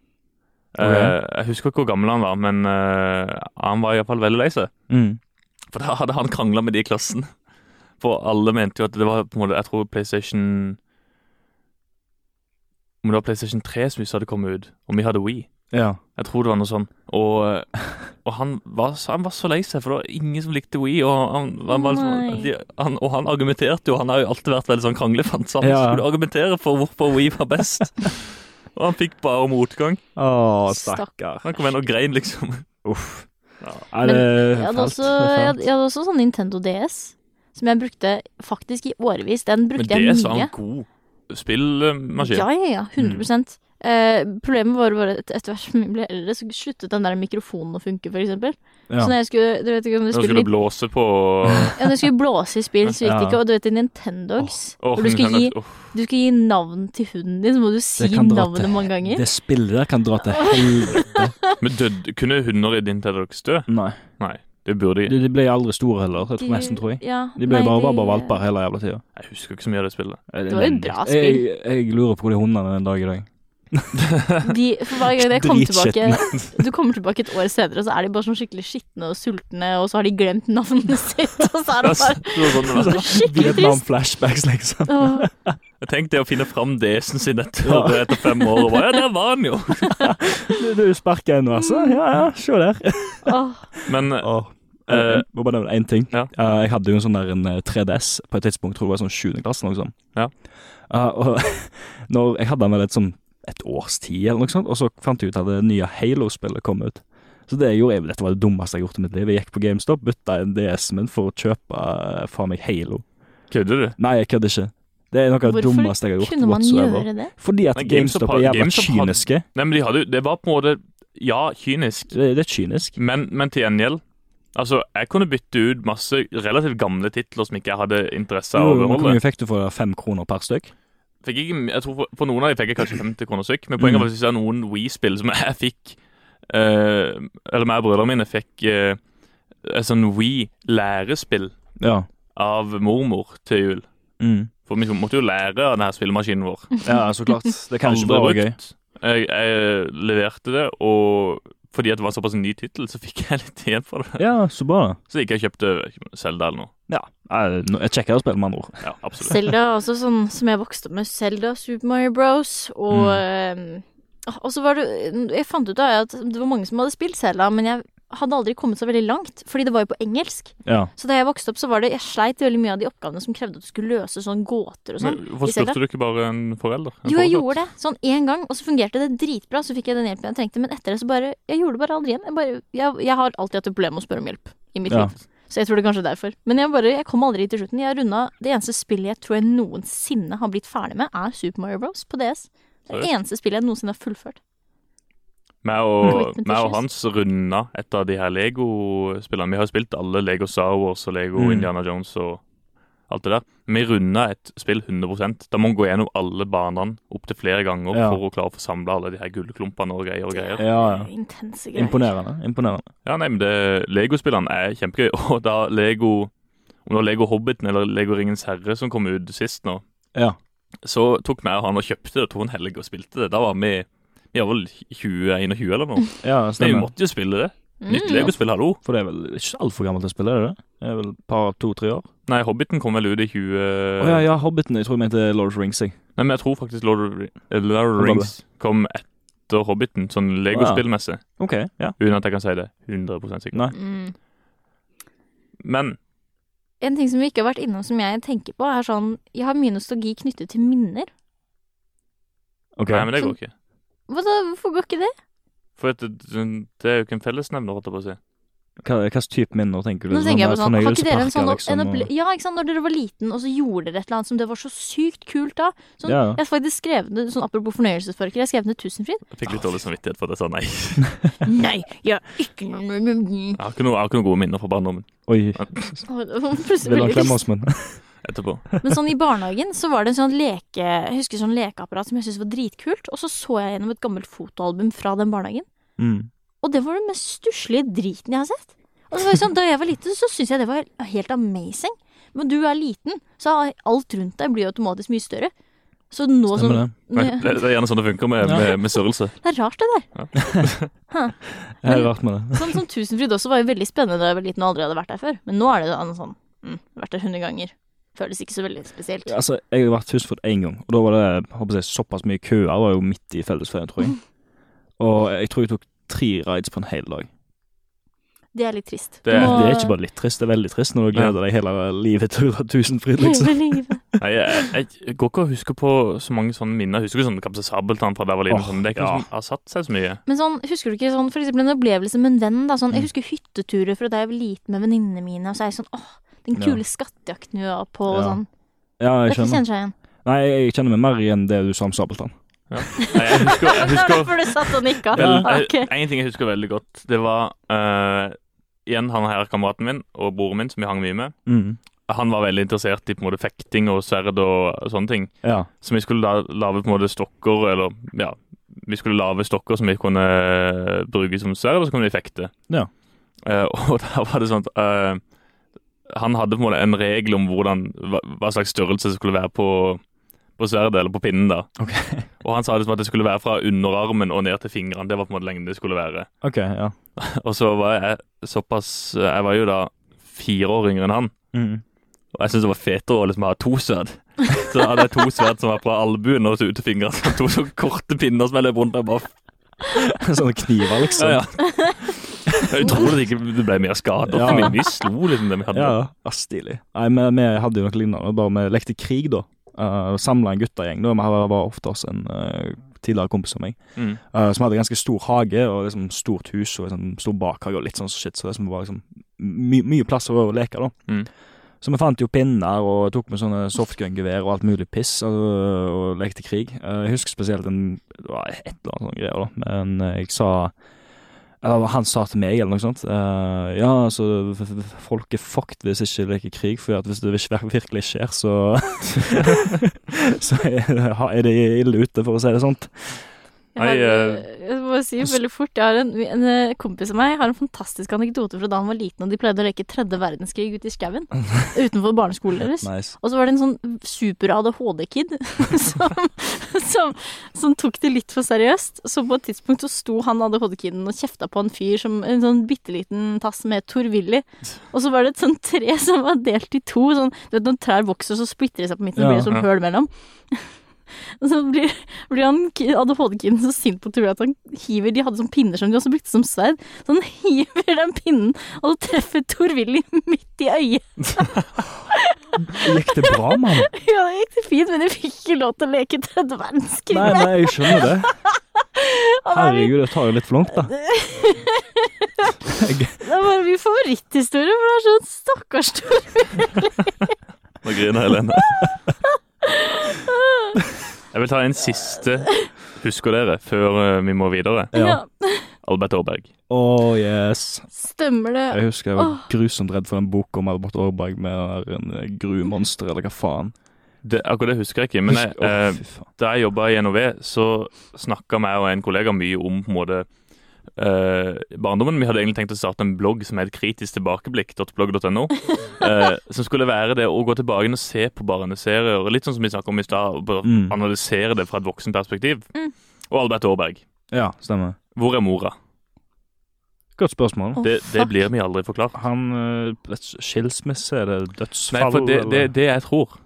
[SPEAKER 1] Eh,
[SPEAKER 2] Ok.
[SPEAKER 1] jeg husker ikke hvor gammel han var, men eh, han var iallfall veldig lei seg.
[SPEAKER 2] Mm.
[SPEAKER 1] For da hadde han krangla med de i klassen. For alle mente jo at det var på en måte Jeg tror PlayStation Om det var PlayStation 3 som visst hadde kommet ut, og vi hadde We.
[SPEAKER 2] Ja.
[SPEAKER 1] Jeg tror det var noe sånn. Og, og han, var, så- han var så lei seg, for det var ingen som likte We. Og han, han, var liksom,
[SPEAKER 3] Nei.
[SPEAKER 1] de, han, og han argumenterte jo, han har jo alltid vært veldig sånn kranglefant, så han
[SPEAKER 2] Ja.
[SPEAKER 1] skulle argumentere for hvorfor We var best. og han fikk bare motgang.
[SPEAKER 2] Å,
[SPEAKER 3] Stakkar.
[SPEAKER 2] stakkar.
[SPEAKER 1] Han kom inn og grein, liksom.
[SPEAKER 2] Uff.
[SPEAKER 1] Ja.
[SPEAKER 2] Er
[SPEAKER 3] Men
[SPEAKER 2] det
[SPEAKER 3] Jeg hadde,
[SPEAKER 2] fælt?
[SPEAKER 3] også,
[SPEAKER 2] Det er
[SPEAKER 3] jeg,
[SPEAKER 2] fælt.
[SPEAKER 3] hadde, jeg hadde også sånn Nintendo DS, som jeg brukte faktisk i årevis. Den
[SPEAKER 1] Men
[SPEAKER 3] brukte
[SPEAKER 1] det
[SPEAKER 3] jeg
[SPEAKER 1] sa
[SPEAKER 3] mye.
[SPEAKER 1] han god spillmaskin.
[SPEAKER 3] Ja, ja, ja. 100 Eh, Problemet var bare at etter hvert som jeg ble eldre, så sluttet den der mikrofonen å funke, for eksempel.
[SPEAKER 2] Ja.
[SPEAKER 3] Så når jeg skulle, du vet ikke om du
[SPEAKER 1] Nå
[SPEAKER 3] skulle
[SPEAKER 1] skulle du blåse på
[SPEAKER 3] Ja, når jeg skulle blåse i spill, så gikk det
[SPEAKER 2] Ja.
[SPEAKER 3] ikke. Og du vet i
[SPEAKER 1] Åh,
[SPEAKER 3] Nintendogs, hvor du skal, gi,
[SPEAKER 1] Nintendo- åh,
[SPEAKER 3] du skal gi navn til hunden din, så må du si
[SPEAKER 2] kan dra
[SPEAKER 3] navnet
[SPEAKER 2] til-
[SPEAKER 3] mange ganger.
[SPEAKER 2] Det spillet der kan dra til helvete.
[SPEAKER 1] Men død, kunne hunder i din TEDx dø?
[SPEAKER 2] Nei.
[SPEAKER 1] Nei. Det burde de.
[SPEAKER 2] De, de ble aldri store heller, jeg tror, nesten, tror jeg.
[SPEAKER 3] Ja,
[SPEAKER 2] De ble
[SPEAKER 3] nei,
[SPEAKER 2] bare, bare,
[SPEAKER 3] de-
[SPEAKER 2] bare valper hele jævla tida.
[SPEAKER 1] Jeg husker ikke så mye av det spillet.
[SPEAKER 3] Det var jo et bra
[SPEAKER 2] Jeg,
[SPEAKER 3] spill.
[SPEAKER 2] jeg lurer på hvor de hundene er den dag i dag.
[SPEAKER 3] De, for hver gang jeg kom tilbake
[SPEAKER 2] Dritskitten.
[SPEAKER 3] Du kommer tilbake et år senere, og så er de bare sånn skikkelig skitne og sultne, og så har de glemt navnet sitt, og så er det
[SPEAKER 1] Altså,
[SPEAKER 3] bare
[SPEAKER 1] det var sånn det var.
[SPEAKER 3] skikkelig trist.
[SPEAKER 2] Vietnam-flashbacks, liksom.
[SPEAKER 3] Åh,
[SPEAKER 1] Jeg tenkte det å finne fram desen sin etter, etter fem år. Og bare, ja, der var han jo!
[SPEAKER 2] Du, du sparker en, altså. Ja, ja, se der.
[SPEAKER 3] åh.
[SPEAKER 1] Men
[SPEAKER 2] Åh, jeg- jeg må bare nevne én ting.
[SPEAKER 1] Eh, Ja.
[SPEAKER 2] Eh, jeg hadde jo en sånn der en eh, 3DS på et tidspunkt, tror jeg det var sånn 7. klasse. eller Noe sånt.
[SPEAKER 1] Ja.
[SPEAKER 2] Eh, og når jeg hadde den vel et, sånn, et års tid, eller noe sånt, og så fant jeg ut at det nye Halo-spillet kom ut. Så det jeg gjorde, jeg, Dette var det dummeste jeg har gjort i mitt liv. Jeg gikk på GameStop, bytta en DS-en min for å kjøpe eh, faen meg Halo.
[SPEAKER 1] eh, kødder du?
[SPEAKER 2] Nei, jeg kødder ikke. Det er noe av det
[SPEAKER 3] Hvorfor
[SPEAKER 2] dummeste jeg har gjort.
[SPEAKER 3] kunne man
[SPEAKER 2] whatsoever.
[SPEAKER 3] gjøre det?
[SPEAKER 2] Fordi at
[SPEAKER 1] Men GameStop
[SPEAKER 2] GameStop er
[SPEAKER 1] har-
[SPEAKER 2] jævla
[SPEAKER 1] GameStop har-
[SPEAKER 2] kyniske.
[SPEAKER 1] Nei, men de hadde, jo- det var på en måte Ja, kynisk,
[SPEAKER 2] Det, det er kynisk.
[SPEAKER 1] men, men til gjengjeld Altså, jeg kunne bytte ut masse relativt gamle titler som ikke jeg hadde interesse av å
[SPEAKER 2] Jo, Hvor
[SPEAKER 1] overholde.
[SPEAKER 2] mye fikk du for det? Fem kroner per stykk?
[SPEAKER 1] Fikk ikke, jeg tror for, for noen av dem fikk jeg kanskje 50 kroner stykk, men poenget var at hvis det er noen Wii-spill som jeg fikk eh, Eller meg og brødrene mine fikk eh, et sånn Wii-lærespill
[SPEAKER 2] Ja.
[SPEAKER 1] av mormor til jul.
[SPEAKER 2] Mm.
[SPEAKER 1] For vi måtte jo lære av denne spillemaskinen vår.
[SPEAKER 2] Ja, så klart. Det kan ikke
[SPEAKER 1] Aldri
[SPEAKER 2] bare være gøy.
[SPEAKER 1] brukt. Jeg, jeg leverte det, og fordi at det var såpass en ny tittel, så fikk jeg litt igjen for det.
[SPEAKER 2] Ja, så bra.
[SPEAKER 1] Så ikke jeg kjøpte Selda eller noe.
[SPEAKER 2] Ja. Eh, no- Et kjekkere spill, med andre ord.
[SPEAKER 1] Ja, absolutt.
[SPEAKER 3] Zelda er også sånn som jeg vokste opp med. Zelda, Super Mario Bros. Og, eh, og så var det Jeg fant ut av at det var mange som hadde spilt Zelda, men jeg hadde aldri kommet så veldig langt, fordi det var jo på engelsk.
[SPEAKER 2] Ja.
[SPEAKER 3] Så da jeg vokste opp, så var det Jeg sleit veldig mye av de oppgavene som krevde at du skulle løse sånn gåter og sånn.
[SPEAKER 1] Men Hvorfor
[SPEAKER 3] i Zelda?
[SPEAKER 1] spurte du ikke bare en forelder? En
[SPEAKER 3] Jo, jeg
[SPEAKER 1] forelder?
[SPEAKER 3] gjorde det sånn én gang, og så fungerte det dritbra. Så fikk jeg den hjelpen jeg trengte, men etter det så bare Jeg gjorde det bare aldri igjen. Jeg, bare, jeg, jeg har alltid hatt et problem med å spørre om hjelp i mitt
[SPEAKER 2] Ja.
[SPEAKER 3] liv. Så jeg tror det kanskje er derfor. Men jeg bare, jeg kom aldri til slutten. Jeg runda Det eneste spillet jeg tror jeg noensinne har blitt ferdig med, er Super Mario Bros. på DS. Det er det eneste spillet jeg noensinne har fullført.
[SPEAKER 1] Meg og,
[SPEAKER 3] Commitment
[SPEAKER 1] meg og
[SPEAKER 3] issues.
[SPEAKER 1] Hans runda et av de her Lego-spillene. Vi har jo spilt alle Lego Star Wars og Lego
[SPEAKER 2] Mm.
[SPEAKER 1] Indiana Jones og alt det der. Vi runda et spill 100 Da må man gå gjennom alle banene opptil flere ganger
[SPEAKER 2] Ja.
[SPEAKER 1] for å klare å få samla alle de her gullklumpene og greier og greier.
[SPEAKER 2] Ja, ja.
[SPEAKER 3] Intense greier.
[SPEAKER 2] Imponerende. Imponerende.
[SPEAKER 1] Ja, nei, men det Lego-spillene er kjempegøy. Og da Lego Om det var Lego Hobbiten eller Lego Ringens Herre som kom ut sist nå,
[SPEAKER 2] Ja.
[SPEAKER 1] så tok vi og han og kjøpte det og tok en helg og spilte det. Da var vi Vi var vel 20-21 eller noe.
[SPEAKER 2] ja
[SPEAKER 1] Nei, vi
[SPEAKER 2] stemmer.
[SPEAKER 1] måtte jo spille det. Nytt
[SPEAKER 3] Mm.
[SPEAKER 1] Lego-spill, hallo.
[SPEAKER 2] For det er vel ikke så altfor gammelt å spille, er det det? Det er vel et par, to-tre år?
[SPEAKER 1] Nei, Hobbiten kom vel ut i 20...
[SPEAKER 2] Å ja, ja, Hobbiten. Jeg tror jeg mente Lord of the Rings, jeg.
[SPEAKER 1] Nei, men jeg tror faktisk Lord of, Ri- eh, Lord of Rings kom etter Hobbiten, sånn Lego-spillmessig.
[SPEAKER 2] OK. Ja.
[SPEAKER 1] Uten at jeg kan si det 100 sikkert.
[SPEAKER 2] Nei.
[SPEAKER 3] Mm.
[SPEAKER 1] Men
[SPEAKER 3] En ting som vi ikke har vært innom som jeg tenker på, er sånn Jeg har mye nostalgi knyttet til minner.
[SPEAKER 2] ok.
[SPEAKER 1] Nei, men det går ikke.
[SPEAKER 3] Hva da, hvorfor går ikke det?
[SPEAKER 1] For at det, det er jo ikke en fellesnevner, holdt jeg på å si.
[SPEAKER 2] Hva hva slags type minner tenker du?
[SPEAKER 3] Nå tenker jeg på sånn, har ikke dere en sånn
[SPEAKER 2] fornøyelsesparker,
[SPEAKER 3] en
[SPEAKER 2] liksom, og-
[SPEAKER 3] opple Ja, ikke sant, når dere var liten, og så gjorde dere et eller annet som det var så sykt kult da. sånn-
[SPEAKER 2] Ja, ja.
[SPEAKER 3] Jeg har faktisk skrevet ned, sånn apropos fornøyelsesparker, jeg har skrevet ned Tusenfryd.
[SPEAKER 1] Jeg
[SPEAKER 2] Ah.
[SPEAKER 1] fikk litt dårlig samvittighet for at jeg sa nei.
[SPEAKER 3] Nei, jeg har ikke noe
[SPEAKER 1] Jeg har ikke noe- jeg har ikke noen gode minner fra barndommen
[SPEAKER 2] Oi. Altså,
[SPEAKER 3] Plutselig
[SPEAKER 2] Vil han
[SPEAKER 3] veldig
[SPEAKER 2] klemme
[SPEAKER 3] lyst.
[SPEAKER 2] oss, men?
[SPEAKER 1] etterpå.
[SPEAKER 3] Men sånn i barnehagen så var det en sånn leke Jeg husker sånn lekeapparat som jeg syntes var dritkult, og så så jeg gjennom et gammelt fotoalbum fra den barnehagen,
[SPEAKER 2] Mm.
[SPEAKER 3] og det var den mest stusslige driten jeg har sett. Og så var det sånn, Da jeg var liten, så syntes jeg det var helt amazing. Men du er liten, så alt rundt deg blir jo automatisk mye større. Så nå
[SPEAKER 2] Stemmer
[SPEAKER 3] som
[SPEAKER 2] det.
[SPEAKER 1] Nei, det, det er gjerne sånn det funker med, med, med størrelse.
[SPEAKER 3] Det er rart, det der.
[SPEAKER 2] Jeg har vært med det.
[SPEAKER 3] Sånn som Tusenfryd også var jo veldig spennende da jeg var liten og aldri hadde vært der før. Men nå er det sånn, sånn mm, vært der hundre ganger. Føles ikke så veldig spesielt.
[SPEAKER 2] Ja, Altså, jeg har vært Husford én gang, og da var det håper jeg, såpass mye køer. Det var jo midt i fellesferien, tror jeg. Og jeg tror jeg tok tre rides på en hel dag.
[SPEAKER 3] Det er litt trist.
[SPEAKER 1] Det er-
[SPEAKER 3] Du må-
[SPEAKER 2] Det er ikke bare litt trist, det er veldig trist når du gleder deg hele livet til å ha Tusenfryd, liksom.
[SPEAKER 3] Hele livet.
[SPEAKER 1] Nei, jeg, jeg, jeg går ikke og husker på så mange sånne minner. Jeg husker sånn Kaptein Sabeltann fra da jeg var liten.
[SPEAKER 2] Åh,
[SPEAKER 1] sånn, men det er ikke
[SPEAKER 2] ja.
[SPEAKER 1] noe som har satt seg så mye.
[SPEAKER 3] Men sånn, husker du ikke sånn, for eksempel en opplevelse med en venn? da, sånn, Jeg
[SPEAKER 2] Mm.
[SPEAKER 3] husker hytteturer fra da jeg var liten med venninnene mine. Og så er jeg sånn åh, den
[SPEAKER 2] Ja.
[SPEAKER 3] kule skattejakten vi var på og
[SPEAKER 2] Ja,
[SPEAKER 3] sånn.
[SPEAKER 2] Ja, jeg
[SPEAKER 3] Dette
[SPEAKER 2] skjønner.
[SPEAKER 3] kjenner seg igjen.
[SPEAKER 2] Nei, jeg kjenner meg mer igjen det du sa om Sabeltann.
[SPEAKER 1] Nei, jeg husker, jeg
[SPEAKER 3] Det var
[SPEAKER 1] husker
[SPEAKER 3] derfor du satt og nikka.
[SPEAKER 1] vel, jeg,
[SPEAKER 3] Ok.
[SPEAKER 1] En ting jeg husker veldig godt, det var eh, igjen han her kameraten min og broren min, som vi hang mye med.
[SPEAKER 2] Mm.
[SPEAKER 1] Han var veldig interessert i på en måte fekting og sverd og sånne ting.
[SPEAKER 2] Ja.
[SPEAKER 1] Så vi skulle da lage på en måte stokker, eller eh, ja Vi skulle lage stokker som vi kunne bruke som sverd, og så kunne vi fekte.
[SPEAKER 2] Ja.
[SPEAKER 1] Eh, og der var det sånn at eh, han hadde på en måte en regel om hvordan, hva, hva slags størrelse det skulle være på, på sverdet, eller på pinnen. da.
[SPEAKER 2] Ok.
[SPEAKER 1] Og han sa det som at det skulle være fra underarmen og ned til fingrene. Det var på en måte lengden det skulle være.
[SPEAKER 2] Ok, ja.
[SPEAKER 1] Og så var jeg såpass eh, Jeg var jo da fire år yngre enn han.
[SPEAKER 2] Mm.
[SPEAKER 1] Og jeg syntes det var fetere å liksom ha to sverd. Så da hadde jeg to sverd som var fra albuen og så ut til fingrene. Så to så korte pinner som jeg løp rundt med. Bare,
[SPEAKER 2] Sånne kniver, liksom.
[SPEAKER 1] ja, ja. Jeg tror det ikke det ble mer skader.
[SPEAKER 2] Ja.
[SPEAKER 1] for Vi, vi slo liksom det vi hadde.
[SPEAKER 2] Ja, ja. Ah, stilig. Nei, vi, vi hadde jo noe lignende, bare vi lekte krig, da. Uh, Samla en guttegjeng. da. Vi hadde- var ofte hos en eh, tidligere kompis av meg,
[SPEAKER 1] Mm.
[SPEAKER 2] eh, som hadde ganske stor hage og liksom stort hus og liksom, stor bakhage og litt sånn shit, så det som var liksom my mye plass for å leke, da.
[SPEAKER 1] Mm.
[SPEAKER 2] Så vi fant jo pinner og tok med sånne softgun-gevær og alt mulig piss og, og lekte krig. Eh, Jeg husker spesielt en, det var et eller annet sånn greier, da. Men eh, jeg sa eller han sa til meg eller noe sånt eh, Ja, altså, f- f- folk er fucked hvis ikke de leker krig, for at hvis det vir- virkelig skjer, så Så er er de ille ute, for å si det sånt.
[SPEAKER 3] Jeg, har,
[SPEAKER 1] Nei,
[SPEAKER 3] eh, jeg må bare si veldig fort Jeg har en, en eh, kompis av meg har en fantastisk anekdote fra da han var liten, og de pleide å leke tredje verdenskrig ute i skauen utenfor barneskolen deres.
[SPEAKER 2] Nice.
[SPEAKER 3] Og så var det en sånn super-ADHD-kid som, som, som tok det litt for seriøst. Så på et tidspunkt så sto han ADHD-kiden og kjefta på en fyr som en sånn bitte liten tass med Tor-Willy. Og så var det et sånt tre som var delt i to. Sånn, du vet når trær vokser, så splitter de seg på midten, og
[SPEAKER 2] Ja,
[SPEAKER 3] blir det sånn
[SPEAKER 1] ja.
[SPEAKER 3] høl mellom. Og så blir, blir han ki- ADHD-kiden så sint på Tor-Willy at han hiver De hadde sånn pinner som de også brukte som sverd. Så han hiver den pinnen, og så treffer Tor-Willy midt i øyet.
[SPEAKER 2] Gikk det bra, mann?
[SPEAKER 3] Ja, det gikk det fint, men jeg fikk ikke lov til å leke tredje verdenskrig.
[SPEAKER 2] Nei, nei, jeg skjønner det.
[SPEAKER 3] Og det er min-
[SPEAKER 2] Herregud, det tar jo litt for langt, da.
[SPEAKER 3] Det er bare min favoritthistorie, for det er sånn stakkars stor.
[SPEAKER 1] Nå griner Helene. Jeg vil ta en siste Husker dere, før eh, vi må videre.
[SPEAKER 2] Ja.
[SPEAKER 3] Ja.
[SPEAKER 1] Albert Aaberg.
[SPEAKER 2] Oh, yes.
[SPEAKER 3] Stemmer det.
[SPEAKER 2] Jeg husker jeg var grusomt redd for den boka om Albert Aarberg med den der, en eh, grumonster, eller hva faen.
[SPEAKER 1] Det, akkurat det husker jeg ikke. Men jeg,
[SPEAKER 2] Husker- Å,
[SPEAKER 1] eh,
[SPEAKER 2] fy faen.
[SPEAKER 1] da jeg jobba i NOV, så snakka jeg og en kollega mye om på en måte eh, barndommen. Vi hadde egentlig tenkt å starte en blogg som het kritisk tilbakeblikk.blogg.no. eh, som skulle være det å gå tilbake og se på barneserier, litt sånn som vi snakket om i stad, og bare
[SPEAKER 2] Mm.
[SPEAKER 1] analysere det fra et voksenperspektiv.
[SPEAKER 3] Mm.
[SPEAKER 1] Og Albert Aaberg.
[SPEAKER 2] Ja, stemmer.
[SPEAKER 1] Hvor er mora?
[SPEAKER 2] Godt spørsmål.
[SPEAKER 3] Å,
[SPEAKER 1] Det, det
[SPEAKER 3] fuck.
[SPEAKER 1] blir vi aldri forklart.
[SPEAKER 2] Han eh, Skilsmisse, er det dødsfall?
[SPEAKER 1] Nei, for det, det,
[SPEAKER 2] eller?
[SPEAKER 1] det jeg tror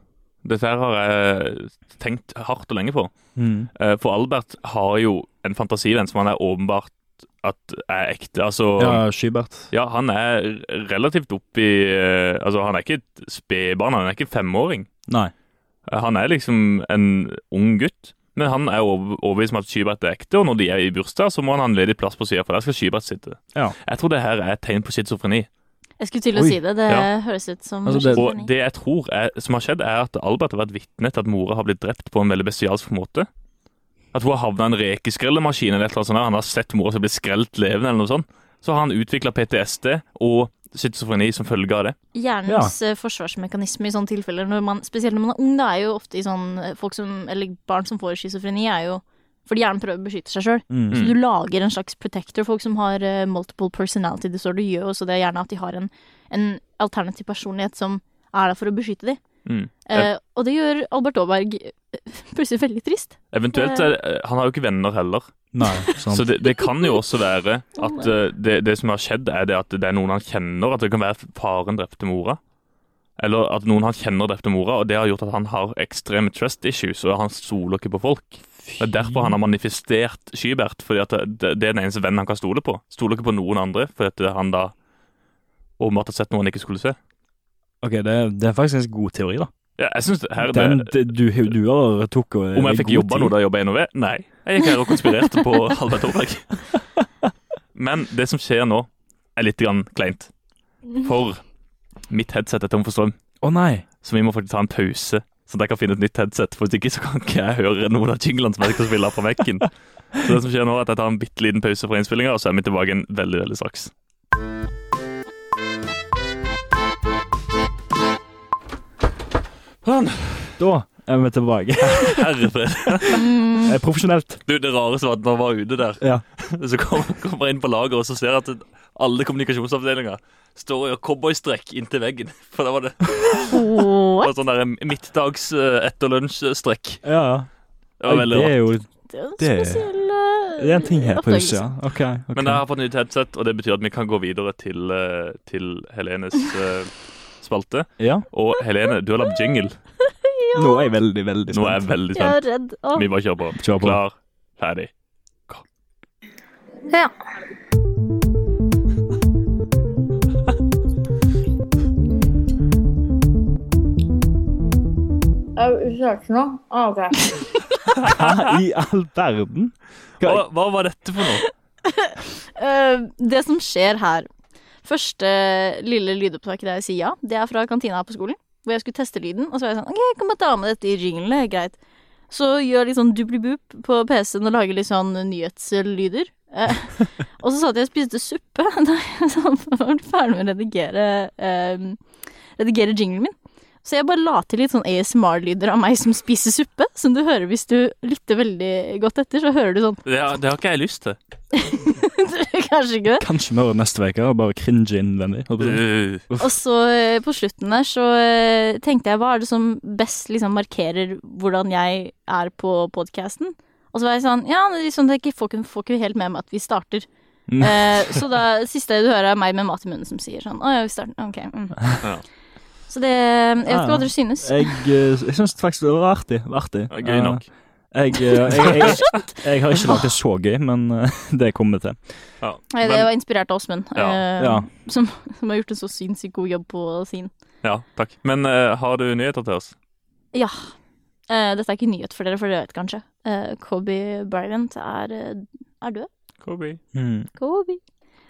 [SPEAKER 1] Dette her har jeg tenkt hardt og lenge på.
[SPEAKER 2] Mm.
[SPEAKER 1] Eh, For Albert har jo en fantasivenn som han er åpenbart at er ekte. Altså
[SPEAKER 2] Ja, Skybert.
[SPEAKER 1] Ja, han er relativt oppi eh, Altså, han er ikke et spedbarn, han er ikke femåring.
[SPEAKER 2] Nei.
[SPEAKER 1] Eh, Han er liksom en ung gutt. Men han er over- overbevist om at Skybert er ekte, og når de er i bursdag, så må han ha en ledig plass på sida, for der skal Skybert sitte.
[SPEAKER 2] Ja.
[SPEAKER 1] Jeg tror det her er et tegn på schizofreni.
[SPEAKER 3] Jeg skulle til å
[SPEAKER 2] Oi.
[SPEAKER 3] si det. Det
[SPEAKER 1] Ja.
[SPEAKER 3] høres ut som
[SPEAKER 2] Altså, det-
[SPEAKER 1] Og
[SPEAKER 3] schizofreni.
[SPEAKER 1] det jeg tror er, som har skjedd, er at Albert har vært vitne til at mora har blitt drept på en veldig bestialsk måte. At hun har havna i en rekeskrellemaskin eller et eller annet sånt. der. Han har sett mora som blir skrelt levende eller noe sånt. Så har han utvikla PTSD og schizofreni som følge av det.
[SPEAKER 3] Hjernens eh, forsvarsmekanisme i sånne tilfeller, når man, spesielt når man er ung, da er jo ofte i sånn eh, folk som, eller barn som får schizofreni, er jo fordi hjernen prøver å beskytte seg sjøl.
[SPEAKER 2] Mm.
[SPEAKER 3] Så du lager en slags protector. Folk som har eh, multiple personality disorder, gjør jo også det gjerne at de har en, en alternativ personlighet som er der for å beskytte dem.
[SPEAKER 1] Mm.
[SPEAKER 3] Eh, og det gjør Albert Aaberg eh, plutselig veldig trist.
[SPEAKER 1] Eventuelt er det, Han har jo ikke venner heller.
[SPEAKER 2] Nei, sant.
[SPEAKER 1] Så det, det kan jo også være at eh, det, det som har skjedd, er det at det er noen han kjenner. At det kan være faren drepte mora. Eller at noen han kjenner drepte mora, og det har gjort at han har ekstreme trust issues, og han stoler ikke på folk. Det er derfor han har manifestert Skybert, fordi at det, det er den eneste vennen han kan stole på. Stoler ikke på noen andre, fordi at han da åpenbart har sett noe han ikke skulle se.
[SPEAKER 2] Ok, det, det er faktisk en god teori, da.
[SPEAKER 1] Ja, jeg synes det, her, er
[SPEAKER 2] Den, eh,
[SPEAKER 1] det,
[SPEAKER 2] det, du, du har tok og
[SPEAKER 1] Om jeg fikk jobba nå da jeg jobba i NOV? Nei. Jeg gikk her og konspirerte på Albert Aaberg. Men det som skjer nå, er litt grann kleint. For mitt headset er tom for strøm,
[SPEAKER 2] Å nei.
[SPEAKER 1] så vi må faktisk ta en pause. Så jeg kan finne et nytt headset, for hvis ikke så kan ikke jeg høre noen av jinglene som jeg skal spille på Mac-en. Så det som skjer nå, er at jeg tar en bitte liten pause fra innspillinga, og så er vi tilbake igjen veldig, veldig straks. Sånn.
[SPEAKER 2] Da er vi tilbake.
[SPEAKER 1] Herre fred.
[SPEAKER 3] Mm,
[SPEAKER 2] Det er profesjonelt.
[SPEAKER 1] Du, det rareste var at når han var ute der,
[SPEAKER 2] Ja.
[SPEAKER 1] Så kommer kommer jeg inn på laget og så ser jeg at alle kommunikasjonsavdelinger står og gjør cowboystrekk inntil veggen. For da var det
[SPEAKER 3] What?
[SPEAKER 1] bare sånn der midtdags eh, etter lunsj-strekk.
[SPEAKER 2] Ja, ja.
[SPEAKER 1] Det var veldig
[SPEAKER 2] det
[SPEAKER 1] rart.
[SPEAKER 2] er jo
[SPEAKER 3] Det er en
[SPEAKER 2] Det-
[SPEAKER 3] spesiell eh,
[SPEAKER 2] det er en ting her på huset,
[SPEAKER 3] oppdagelse.
[SPEAKER 2] ja. Ok, ok.
[SPEAKER 1] Men jeg har fått nytt headset, og det betyr at vi kan gå videre til, eh, til Helenes eh, spalte.
[SPEAKER 2] ja.
[SPEAKER 1] Og Helene, du har lagd jingle.
[SPEAKER 2] Nå er jeg veldig, veldig
[SPEAKER 1] Nå er
[SPEAKER 2] spent.
[SPEAKER 1] jeg veldig
[SPEAKER 3] Jeg
[SPEAKER 1] spent.
[SPEAKER 3] er redd. Å,
[SPEAKER 1] Vi bare kjører på.
[SPEAKER 2] Kjør på.
[SPEAKER 1] Klar, ferdig.
[SPEAKER 4] Ja. Er du usikker nå? Ah, ok.
[SPEAKER 2] Hva i all verden?
[SPEAKER 1] Hva, hva var dette for noe?
[SPEAKER 3] eh, det som skjer her Første lille lydopptaket der jeg sier ja, det er fra kantina her på skolen. Hvor jeg skulle teste lyden, og så var jeg sånn OK, jeg kan bare ta med dette i jinglene. Greit. Så gjør litt sånn dublibup på PC-en og lager litt sånn nyhetslyder. Eh, og så satt jeg og spiste suppe da jeg sånn var ferdig med å redigere, eh, redigere jinglen min. Så jeg bare la til litt sånn ASMR-lyder av meg som spiser suppe, som du hører hvis du lytter veldig godt etter, så hører du sånn
[SPEAKER 1] Det har, det har ikke jeg lyst til.
[SPEAKER 3] Kanskje ikke det?
[SPEAKER 2] Kanskje vi hører neste uke og bare cringe innvendig. holdt på å si.
[SPEAKER 1] Uh,
[SPEAKER 3] Og så eh, på slutten der så eh, tenkte jeg hva er det som best liksom markerer hvordan jeg er på podkasten? Og så var jeg sånn ja, det er liksom, det er ikke, folk får ikke helt med meg at vi starter.
[SPEAKER 2] Mm.
[SPEAKER 3] Eh, så da siste du hører er meg med mat i munnen som sier sånn å ja, vi starter. Ok. Mm.
[SPEAKER 1] Ja.
[SPEAKER 3] Så det Jeg vet ikke hva dere synes.
[SPEAKER 2] Jeg, eh, jeg syns faktisk det var artig. Det var artig.
[SPEAKER 1] gøy nok.
[SPEAKER 2] Eh, Jeg, eh, jeg, jeg, jeg, jeg har ikke lagd det så gøy, men eh, det kommer vi til.
[SPEAKER 1] Ja.
[SPEAKER 3] Nei, Eh, det var inspirert av Åsmund,
[SPEAKER 1] Ja,
[SPEAKER 3] eh,
[SPEAKER 2] ja.
[SPEAKER 3] Som, som har gjort en så sinnssykt god jobb på sin.
[SPEAKER 1] ja, takk. Men eh, har du nyheter til oss?
[SPEAKER 3] Ja. Eh, dette er ikke nyhet for dere, for dere vet kanskje. Eh, Kobe Bryant er, eh, er død.
[SPEAKER 1] Kobe.
[SPEAKER 2] Mm.
[SPEAKER 3] Kobe.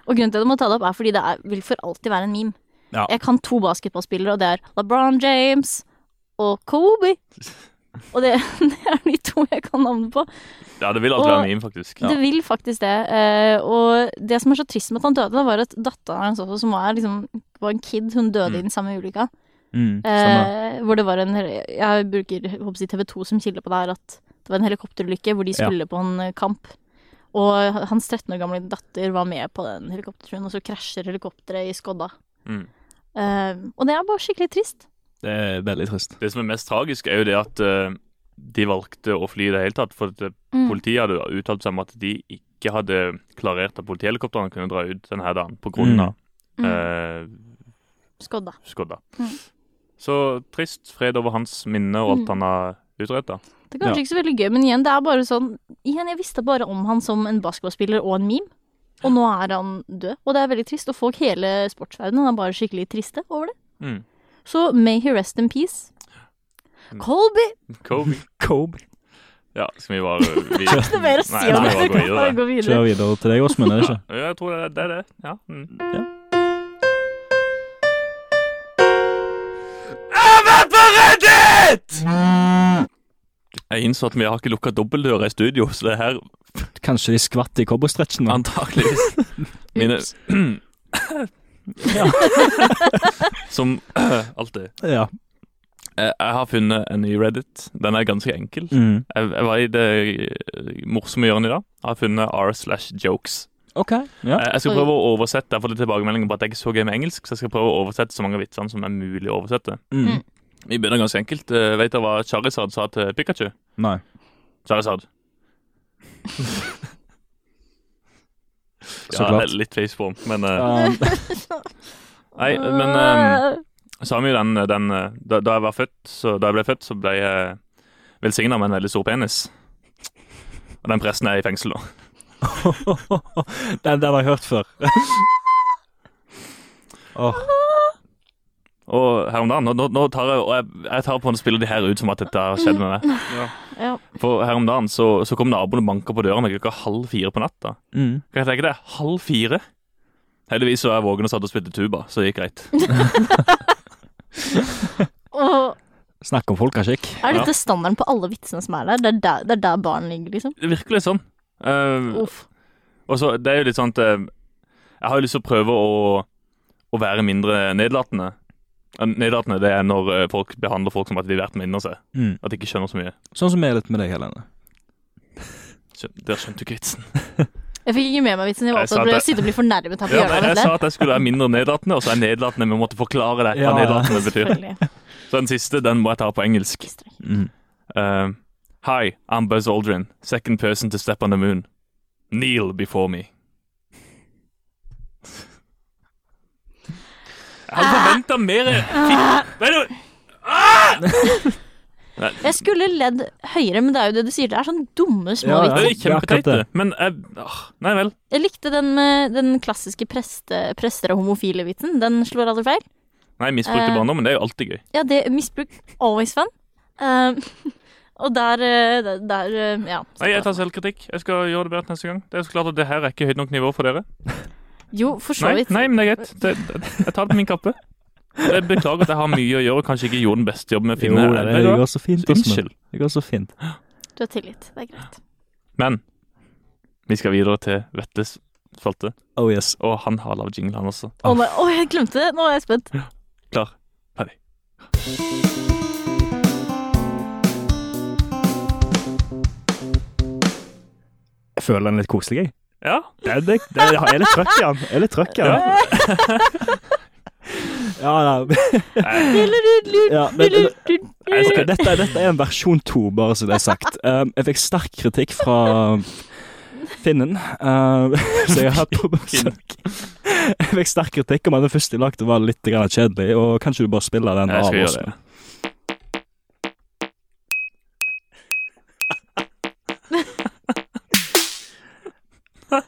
[SPEAKER 3] Og grunnen til at jeg må ta det opp, er fordi det er, vil for alltid være en meme.
[SPEAKER 2] Ja.
[SPEAKER 3] Jeg kan to basketballspillere, og det er LeBron James og Kobe. Og det, det er de to jeg kan navnet på.
[SPEAKER 1] Ja, det vil alltid
[SPEAKER 3] Og-
[SPEAKER 1] være meme, faktisk.
[SPEAKER 3] Det vil faktisk det. eh, Og det som er så trist med at han døde, da, var at datteren hans også, som var, liksom, var en kid, hun døde i den samme ulykka.
[SPEAKER 2] Mm. Stemmer.
[SPEAKER 3] Eh, hvor det var en Jeg bruker jeg håper å si TV 2 som kilde på det her, at det var en helikopterulykke hvor de
[SPEAKER 2] Ja.
[SPEAKER 3] skulle på en eh, kamp. Og hans 13 år gamle datter var med på den helikopterturen, og så krasjer helikopteret i skodda.
[SPEAKER 1] Mm.
[SPEAKER 3] Eh, og det er bare skikkelig trist.
[SPEAKER 2] Det er veldig trist.
[SPEAKER 1] Det som er mest tragisk, er jo det at eh, de valgte å fly i det hele tatt. For at eh,
[SPEAKER 3] Mm.
[SPEAKER 1] politiet hadde uttalt seg om at de ikke hadde klarert at politihelikoptrene kunne dra ut denne dagen på
[SPEAKER 2] Mm.
[SPEAKER 1] grunn av
[SPEAKER 3] Mm.
[SPEAKER 1] eh,
[SPEAKER 3] Skodda.
[SPEAKER 1] skodda.
[SPEAKER 3] Mm.
[SPEAKER 1] Så trist. Fred over hans minne og alt
[SPEAKER 3] Mm.
[SPEAKER 1] han har utretta.
[SPEAKER 3] Det er kanskje ikke så veldig gøy, men igjen, det er bare sånn Igjen, jeg visste bare om han som en basketballspiller og en meme. Og nå er han død, og det er veldig trist. Og folk hele sportsverdenen er bare skikkelig triste over det.
[SPEAKER 1] Mm.
[SPEAKER 3] Så may he rest in peace.
[SPEAKER 1] Mm.
[SPEAKER 3] Colby!
[SPEAKER 1] Kobe.
[SPEAKER 2] Kobe.
[SPEAKER 1] Ja, skal vi bare vi,
[SPEAKER 3] Ikke noe mer å si
[SPEAKER 1] Nei,
[SPEAKER 3] om
[SPEAKER 1] vi
[SPEAKER 3] det.
[SPEAKER 1] bare
[SPEAKER 3] Vi
[SPEAKER 1] går
[SPEAKER 3] kan bare
[SPEAKER 1] videre.
[SPEAKER 3] gå videre.
[SPEAKER 2] Kjør videre til deg, Åsmund. er det ikke?
[SPEAKER 1] Ja, jeg tror det er det. Er det. Ja. Mm.
[SPEAKER 2] Ja.
[SPEAKER 1] Jeg har vært på Reddit!
[SPEAKER 2] Mm.
[SPEAKER 1] Jeg innså at vi har ikke lukka dobbeltdøra i studio, så det her
[SPEAKER 2] Kanskje de skvatt i cowboystretchen? da?
[SPEAKER 1] antakeligvis mine
[SPEAKER 3] Ups.
[SPEAKER 1] Som alltid.
[SPEAKER 2] Ja.
[SPEAKER 1] Jeg, Eh, jeg har funnet en ny Reddit. Den er ganske enkel.
[SPEAKER 2] Mm.
[SPEAKER 1] Jeg, jeg var i det eh, morsomme hjørnet i dag. Jeg har funnet r slash jokes. Eh,
[SPEAKER 2] OK. Ja.
[SPEAKER 1] Jeg jeg skal
[SPEAKER 3] Oi.
[SPEAKER 1] prøve å oversette. Jeg har fått litt tilbakemeldinger på at jeg ikke er så gøy med engelsk, så jeg skal prøve å oversette så mange av vitsene som er mulig å oversette.
[SPEAKER 2] Mm.
[SPEAKER 1] Vi begynner ganske enkelt. Eh, Vet dere hva Charizard sa til Pikachu?
[SPEAKER 2] Nei.
[SPEAKER 1] Charizard.
[SPEAKER 2] Så
[SPEAKER 1] ja, det
[SPEAKER 2] klart.
[SPEAKER 1] er litt faceform, men eh,
[SPEAKER 2] Um,
[SPEAKER 1] Nei, men eh, så har vi jo den, den eh, da, da jeg var født, så, da jeg ble født, så ble jeg velsigna med en veldig stor penis. Og den presten er i fengsel nå.
[SPEAKER 2] den, den har jeg hørt før. Åh,
[SPEAKER 1] Og her om dagen, nå, nå- nå tar jeg, og jeg, jeg tar på en spiller de her ut som at dette har skjedd med meg.
[SPEAKER 3] ja.
[SPEAKER 1] For her om dagen så, så kom naboen og banka på døra meg klokka halv fire på natta.
[SPEAKER 2] mm.
[SPEAKER 1] Kan jeg tenke det? Halv fire? Heldigvis så var jeg våken og satt og spilte tuba, så det gikk greit.
[SPEAKER 3] Og
[SPEAKER 2] Snakk om folkeskikk.
[SPEAKER 3] er dette standarden på alle vitsene som er der? Det er der, det er der barn ligger, liksom?
[SPEAKER 1] Det er virkelig sånn. Eh,
[SPEAKER 3] Uff.
[SPEAKER 1] og så, det er jo litt sånn at eh, Jeg har jo lyst til å prøve å, å være mindre nedlatende. Eh, Nedlatende det er når eh, folk behandler folk som at de er verdt mindre enn seg.
[SPEAKER 2] Mm.
[SPEAKER 1] At de ikke skjønner så mye.
[SPEAKER 2] Sånn som vi er litt med deg, Helene.
[SPEAKER 1] Skjøn- Der skjønte du ikke vitsen.
[SPEAKER 3] Jeg fikk ikke med meg vitsen. Jeg var
[SPEAKER 1] Jeg sa
[SPEAKER 3] opptatt av å
[SPEAKER 1] det.
[SPEAKER 3] sitte og bli fornærmet her på
[SPEAKER 1] Ja,
[SPEAKER 3] hjørnet.
[SPEAKER 1] jeg
[SPEAKER 3] av
[SPEAKER 1] sa at jeg skulle være mindre nedlatende, og så er nedlatende Vi måtte forklare deg hva
[SPEAKER 2] Ja, ja.
[SPEAKER 1] nedlatende
[SPEAKER 3] det.
[SPEAKER 1] betyr.
[SPEAKER 3] Selvfølgelig.
[SPEAKER 1] Så den siste den må jeg ta på engelsk.
[SPEAKER 2] Mm.
[SPEAKER 1] Eh, Hi, I'm Buzz Aldrin, second person to step on the moon. Kneel before me. Jeg hadde forventa mer
[SPEAKER 3] Ah!
[SPEAKER 1] Fy- Nei, nå-
[SPEAKER 3] Jeg skulle ledd høyere, men det er jo det du sier. Det er sånn dumme små
[SPEAKER 2] Ja, ja.
[SPEAKER 1] Det
[SPEAKER 3] vitser.
[SPEAKER 1] er kjempeteite, men jeg ah, Nei vel.
[SPEAKER 3] Jeg likte den med den klassiske preste, prester og homofile-vitsen. Den slår aldri feil.
[SPEAKER 1] Nei, misbrukte
[SPEAKER 3] Eh.
[SPEAKER 1] barndommen, det er jo alltid gøy.
[SPEAKER 3] Ja, det misbruk always fun. Eh, og der, eh, der, der, eh, ja.
[SPEAKER 1] Nei, Jeg tar selvkritikk. Jeg skal gjøre det bedre neste gang. Det er så klart at det her er ikke høyt nok nivå for dere.
[SPEAKER 3] Jo, for så
[SPEAKER 1] Nei,
[SPEAKER 3] vidt.
[SPEAKER 1] nei men det er greit. Det, det, jeg tar det på min kappe. Jeg beklager at jeg har mye å gjøre og kanskje ikke gjorde den beste jobben med å
[SPEAKER 2] Jo,
[SPEAKER 1] finne
[SPEAKER 2] det,
[SPEAKER 1] Vet du hva?
[SPEAKER 2] går så fint. Åsmund.
[SPEAKER 1] Unnskyld.
[SPEAKER 2] Det går så fint.
[SPEAKER 3] Du har tillit. Det er greit.
[SPEAKER 1] Men vi skal videre til Vettes spalte,
[SPEAKER 2] Oh yes.
[SPEAKER 1] og han har lagd jingle, han også.
[SPEAKER 3] Å, nei, å, jeg glemte det! Nå er jeg spent.
[SPEAKER 1] Klar, ferdig.
[SPEAKER 2] Jeg føler den er litt koselig, jeg.
[SPEAKER 1] Ja,
[SPEAKER 2] Det, er- det, det, jeg er litt trøkk i den. Jeg er litt trøkk i den. Ja, ja. ja det, det,
[SPEAKER 1] jeg
[SPEAKER 2] Ok,
[SPEAKER 1] skal,
[SPEAKER 2] dette, er- dette er en versjon to, bare så det er sagt. Um, jeg fikk sterk kritikk fra um, Finnen, um, så jeg har hatt på besøk. Jeg fikk sterk kritikk om at den første jeg lagde, var litt grann kjedelig. Og kanskje du bare spiller den
[SPEAKER 1] jeg
[SPEAKER 2] av
[SPEAKER 1] skal
[SPEAKER 2] oss?
[SPEAKER 1] gjøre det.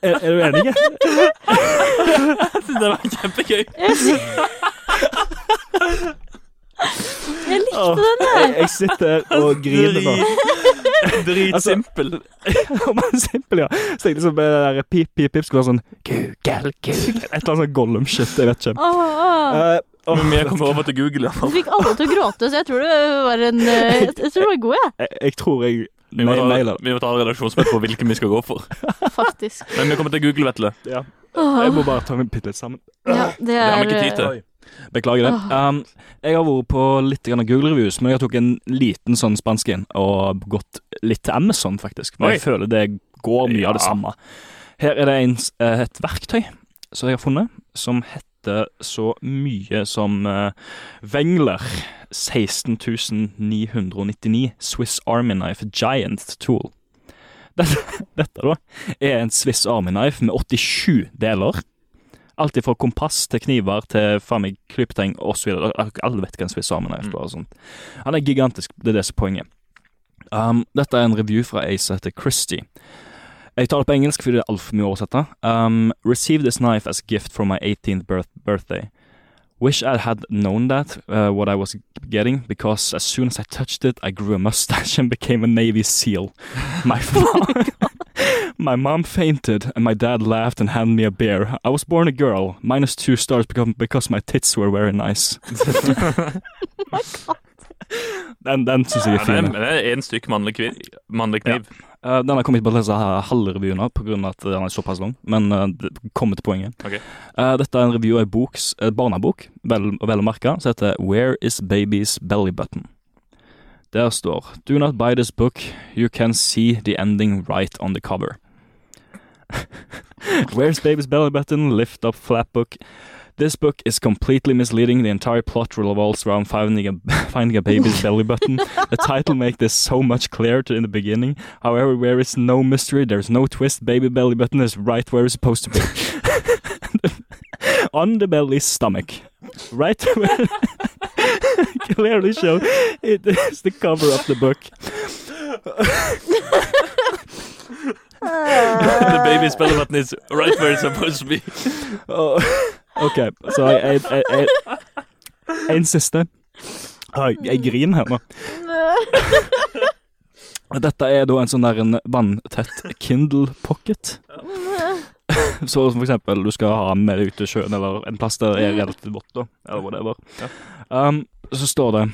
[SPEAKER 2] Er, er du enig?
[SPEAKER 1] Det var kjempegøy.
[SPEAKER 3] Jeg likte
[SPEAKER 2] Åh,
[SPEAKER 3] den.
[SPEAKER 2] Jeg, jeg sitter og griner nå.
[SPEAKER 1] Drit- Dritsimpel.
[SPEAKER 2] Om han simpel, ja. Så tenkte jeg liksom det der pip, pip, pip skulle være sånn Google, Google. Et eller annet sånn Gollum-shit. Jeg vet ikke.
[SPEAKER 3] Å, å.
[SPEAKER 2] Uh, åh,
[SPEAKER 1] Men jeg kommer over til Google. i hvert fall.
[SPEAKER 3] Du fikk alle til å gråte, så jeg tror det var en eh, Jeg jeg tror det var god, jeg.
[SPEAKER 2] jeg, jeg tror jeg
[SPEAKER 1] Vi må
[SPEAKER 2] nei-
[SPEAKER 1] ta,
[SPEAKER 2] nailer det.
[SPEAKER 1] vi må ta en redaksjonsmøte på hvilken vi skal gå for.
[SPEAKER 3] Faktisk.
[SPEAKER 1] Men vi kommer til Google, Vetle.
[SPEAKER 2] Ja. Jeg
[SPEAKER 3] Åh,
[SPEAKER 2] må bare ta meg bitte litt sammen.
[SPEAKER 3] ja, det
[SPEAKER 1] har vi
[SPEAKER 3] er
[SPEAKER 1] ikke tid til.
[SPEAKER 3] eh,
[SPEAKER 2] Beklager det. Um, jeg har vært på litt grann Google Reviews, men jeg tok en liten sånn spansk inn og gått litt til Amazon, faktisk. For jeg
[SPEAKER 1] Oi.
[SPEAKER 2] føler det går mye av det
[SPEAKER 1] Ja.
[SPEAKER 2] samme. Her er det en, s- eh, et verktøy som jeg har funnet, som heter så mye som eh, Wengler 16999 Swiss Army Knife Giant Tool. Dette, dette da er en Swiss Army Knife med 87 deler. Alt fra kompass til kniver til faen meg klypeteng osv. Alle vet hva en Swiss Army Knife er. og sånt. Han er gigantisk, det er det som er poenget. Um, dette er en review fra ei som heter Christie. Jeg tar det på engelsk fordi det er altfor mye å oversette. Um, Receive this knife as a gift for my 18th birth birthday. Wish I had known that, uh, what I was getting, because as soon as I touched it, I grew a mustache and became a Navy SEAL. My,
[SPEAKER 1] Oh
[SPEAKER 2] fa- my mom fainted, and my dad laughed and handed me a beer. I was born a girl, minus two stars because, because my tits were very nice. den den syns
[SPEAKER 1] Oh
[SPEAKER 2] jeg
[SPEAKER 1] Ja,
[SPEAKER 2] er
[SPEAKER 1] det,
[SPEAKER 2] fin.
[SPEAKER 1] er, det er en stykk mannlig, kvin- mannlig kniv.
[SPEAKER 2] Eh, den har kommet på å lese halve revyen av, på grunn av at den er såpass lang, men eh, det kommer til poenget.
[SPEAKER 1] Ok.
[SPEAKER 2] Eh, dette er en review av en boks, eh, barnebok, vel, vel å merke, som heter Where is baby's belly button? Der står Do not buy this book, you can see the ending right on the cover. Where's baby's belly button? Lift up flap book. This book is completely misleading. The entire plot revolves around finding a, finding a baby's belly button. The title make this so much clearer to- in the beginning. However, there is no mystery, there's no twist. Baby belly button is right where it's supposed to be. On the belly stomach. Right where clearly show it is the cover of the book.
[SPEAKER 3] eh,
[SPEAKER 1] The baby spell button is right where it's supposed to be.
[SPEAKER 2] Oh, OK, så jeg, jeg, jeg, jeg En siste. Oi, Jeg griner her nå. Dette er da en sånn der en vanntett Kindle pocket. Så som for eksempel du skal ha den med deg ut til sjøen, eller en plass der det er relativt vått, da. Eller whatever. Um, så står det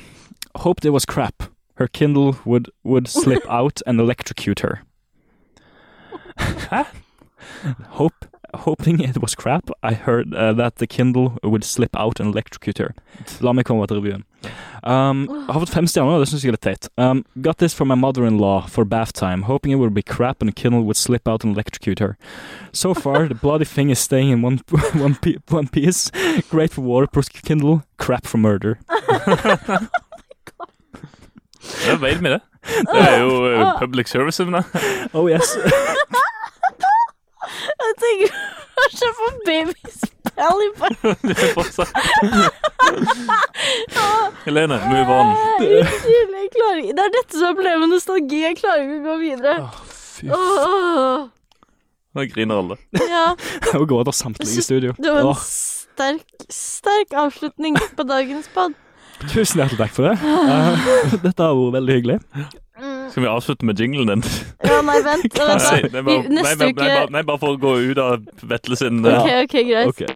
[SPEAKER 2] Hoped it was crap. Her Kindle would, would slip out and electrocute her. Hope, Hoping it was crap, I heard uh, that the Kindle would slip out and electrocute her. La meg komme til revyen. Um, har fått fem stjerner, og det synes jeg er litt teit. Um, got this from my mother-in-law for bath time, hoping it would be crap and the Kindle would slip out and electrocute her. So far, the bloody thing is staying in one, one, pi- one piece. Great for waterproof Kindle, crap for murder.
[SPEAKER 1] Hva mener med det? Det er jo eh, public service. Men, da.
[SPEAKER 2] Oh yes.
[SPEAKER 3] Jeg tenker kanskje på baby's belly button.
[SPEAKER 1] Det er fortsatt. Helene, move on.
[SPEAKER 3] Unnskyld, jeg klarer ikke Det er dette som er problemet med nostalgi. Jeg klarer ikke å gå videre.
[SPEAKER 2] Fy
[SPEAKER 1] Ah,
[SPEAKER 3] Åh,
[SPEAKER 1] Nå griner alle.
[SPEAKER 3] ja,
[SPEAKER 2] Jeg gråter samtlige i studio.
[SPEAKER 3] det var en
[SPEAKER 2] Åh,
[SPEAKER 3] sterk, sterk avslutning på dagens pod.
[SPEAKER 2] tusen hjertelig takk for det.
[SPEAKER 3] Ah.
[SPEAKER 2] Eh, dette har vært veldig hyggelig.
[SPEAKER 3] Mm.
[SPEAKER 1] Skal vi avslutte med jinglen din?
[SPEAKER 3] Ja, nei, vent.
[SPEAKER 1] Nei,
[SPEAKER 3] vent da.
[SPEAKER 1] det er bare-
[SPEAKER 3] Vi-
[SPEAKER 1] nei,
[SPEAKER 3] neste
[SPEAKER 1] bare- nei,
[SPEAKER 3] uke-
[SPEAKER 1] bare- Nei, bare for å gå ut av Vetle sin eh,
[SPEAKER 3] Ok, ok, greit.
[SPEAKER 2] Ok.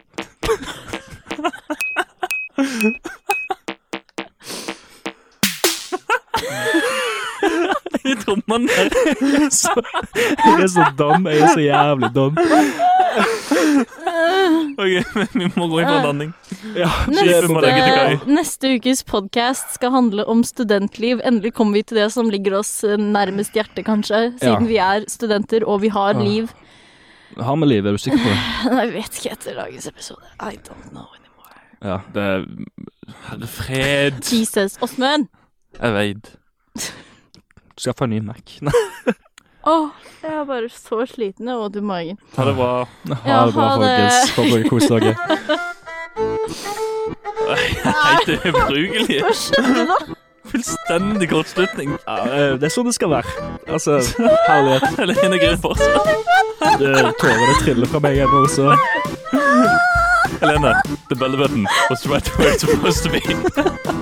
[SPEAKER 1] i trommene der.
[SPEAKER 2] Så, jeg er så dum. Jeg er så jævlig dum.
[SPEAKER 1] Ok, vi må gå inn for en landing.
[SPEAKER 2] Ja,
[SPEAKER 1] Skipet må legge til kai.
[SPEAKER 3] Neste, neste ukes podkast skal handle om studentliv. Endelig kommer vi til det som ligger oss eh, nærmest hjertet, kanskje. Siden
[SPEAKER 2] Ja.
[SPEAKER 3] vi er studenter og vi har
[SPEAKER 2] Ah.
[SPEAKER 3] liv.
[SPEAKER 2] Har vi livet, er du sikker på det?
[SPEAKER 3] Nei, Jeg vet ikke etter dagens episode. I don't know anymore.
[SPEAKER 2] Ja.
[SPEAKER 1] Det er Herre fred.
[SPEAKER 3] Jesus. Åsmund!
[SPEAKER 1] Jeg veit.
[SPEAKER 2] Du skal få en ny Mac. Nei,
[SPEAKER 3] Åh, jeg er bare så sliten og våt i magen.
[SPEAKER 1] Ha det bra.
[SPEAKER 2] Ha det bra,
[SPEAKER 3] ha det.
[SPEAKER 2] folkens. Håper dere koser dere.
[SPEAKER 1] Helt ubrukelig.
[SPEAKER 3] Hva skjedde nå?
[SPEAKER 1] Fullstendig kortslutning.
[SPEAKER 2] Ja, eh, det er sånn det skal være. Altså, herlighet.
[SPEAKER 1] Helene griner fortsatt.
[SPEAKER 2] Det- Tårene triller fra meg ennå, så
[SPEAKER 1] Helene, the bell button was right where it's supposed to be.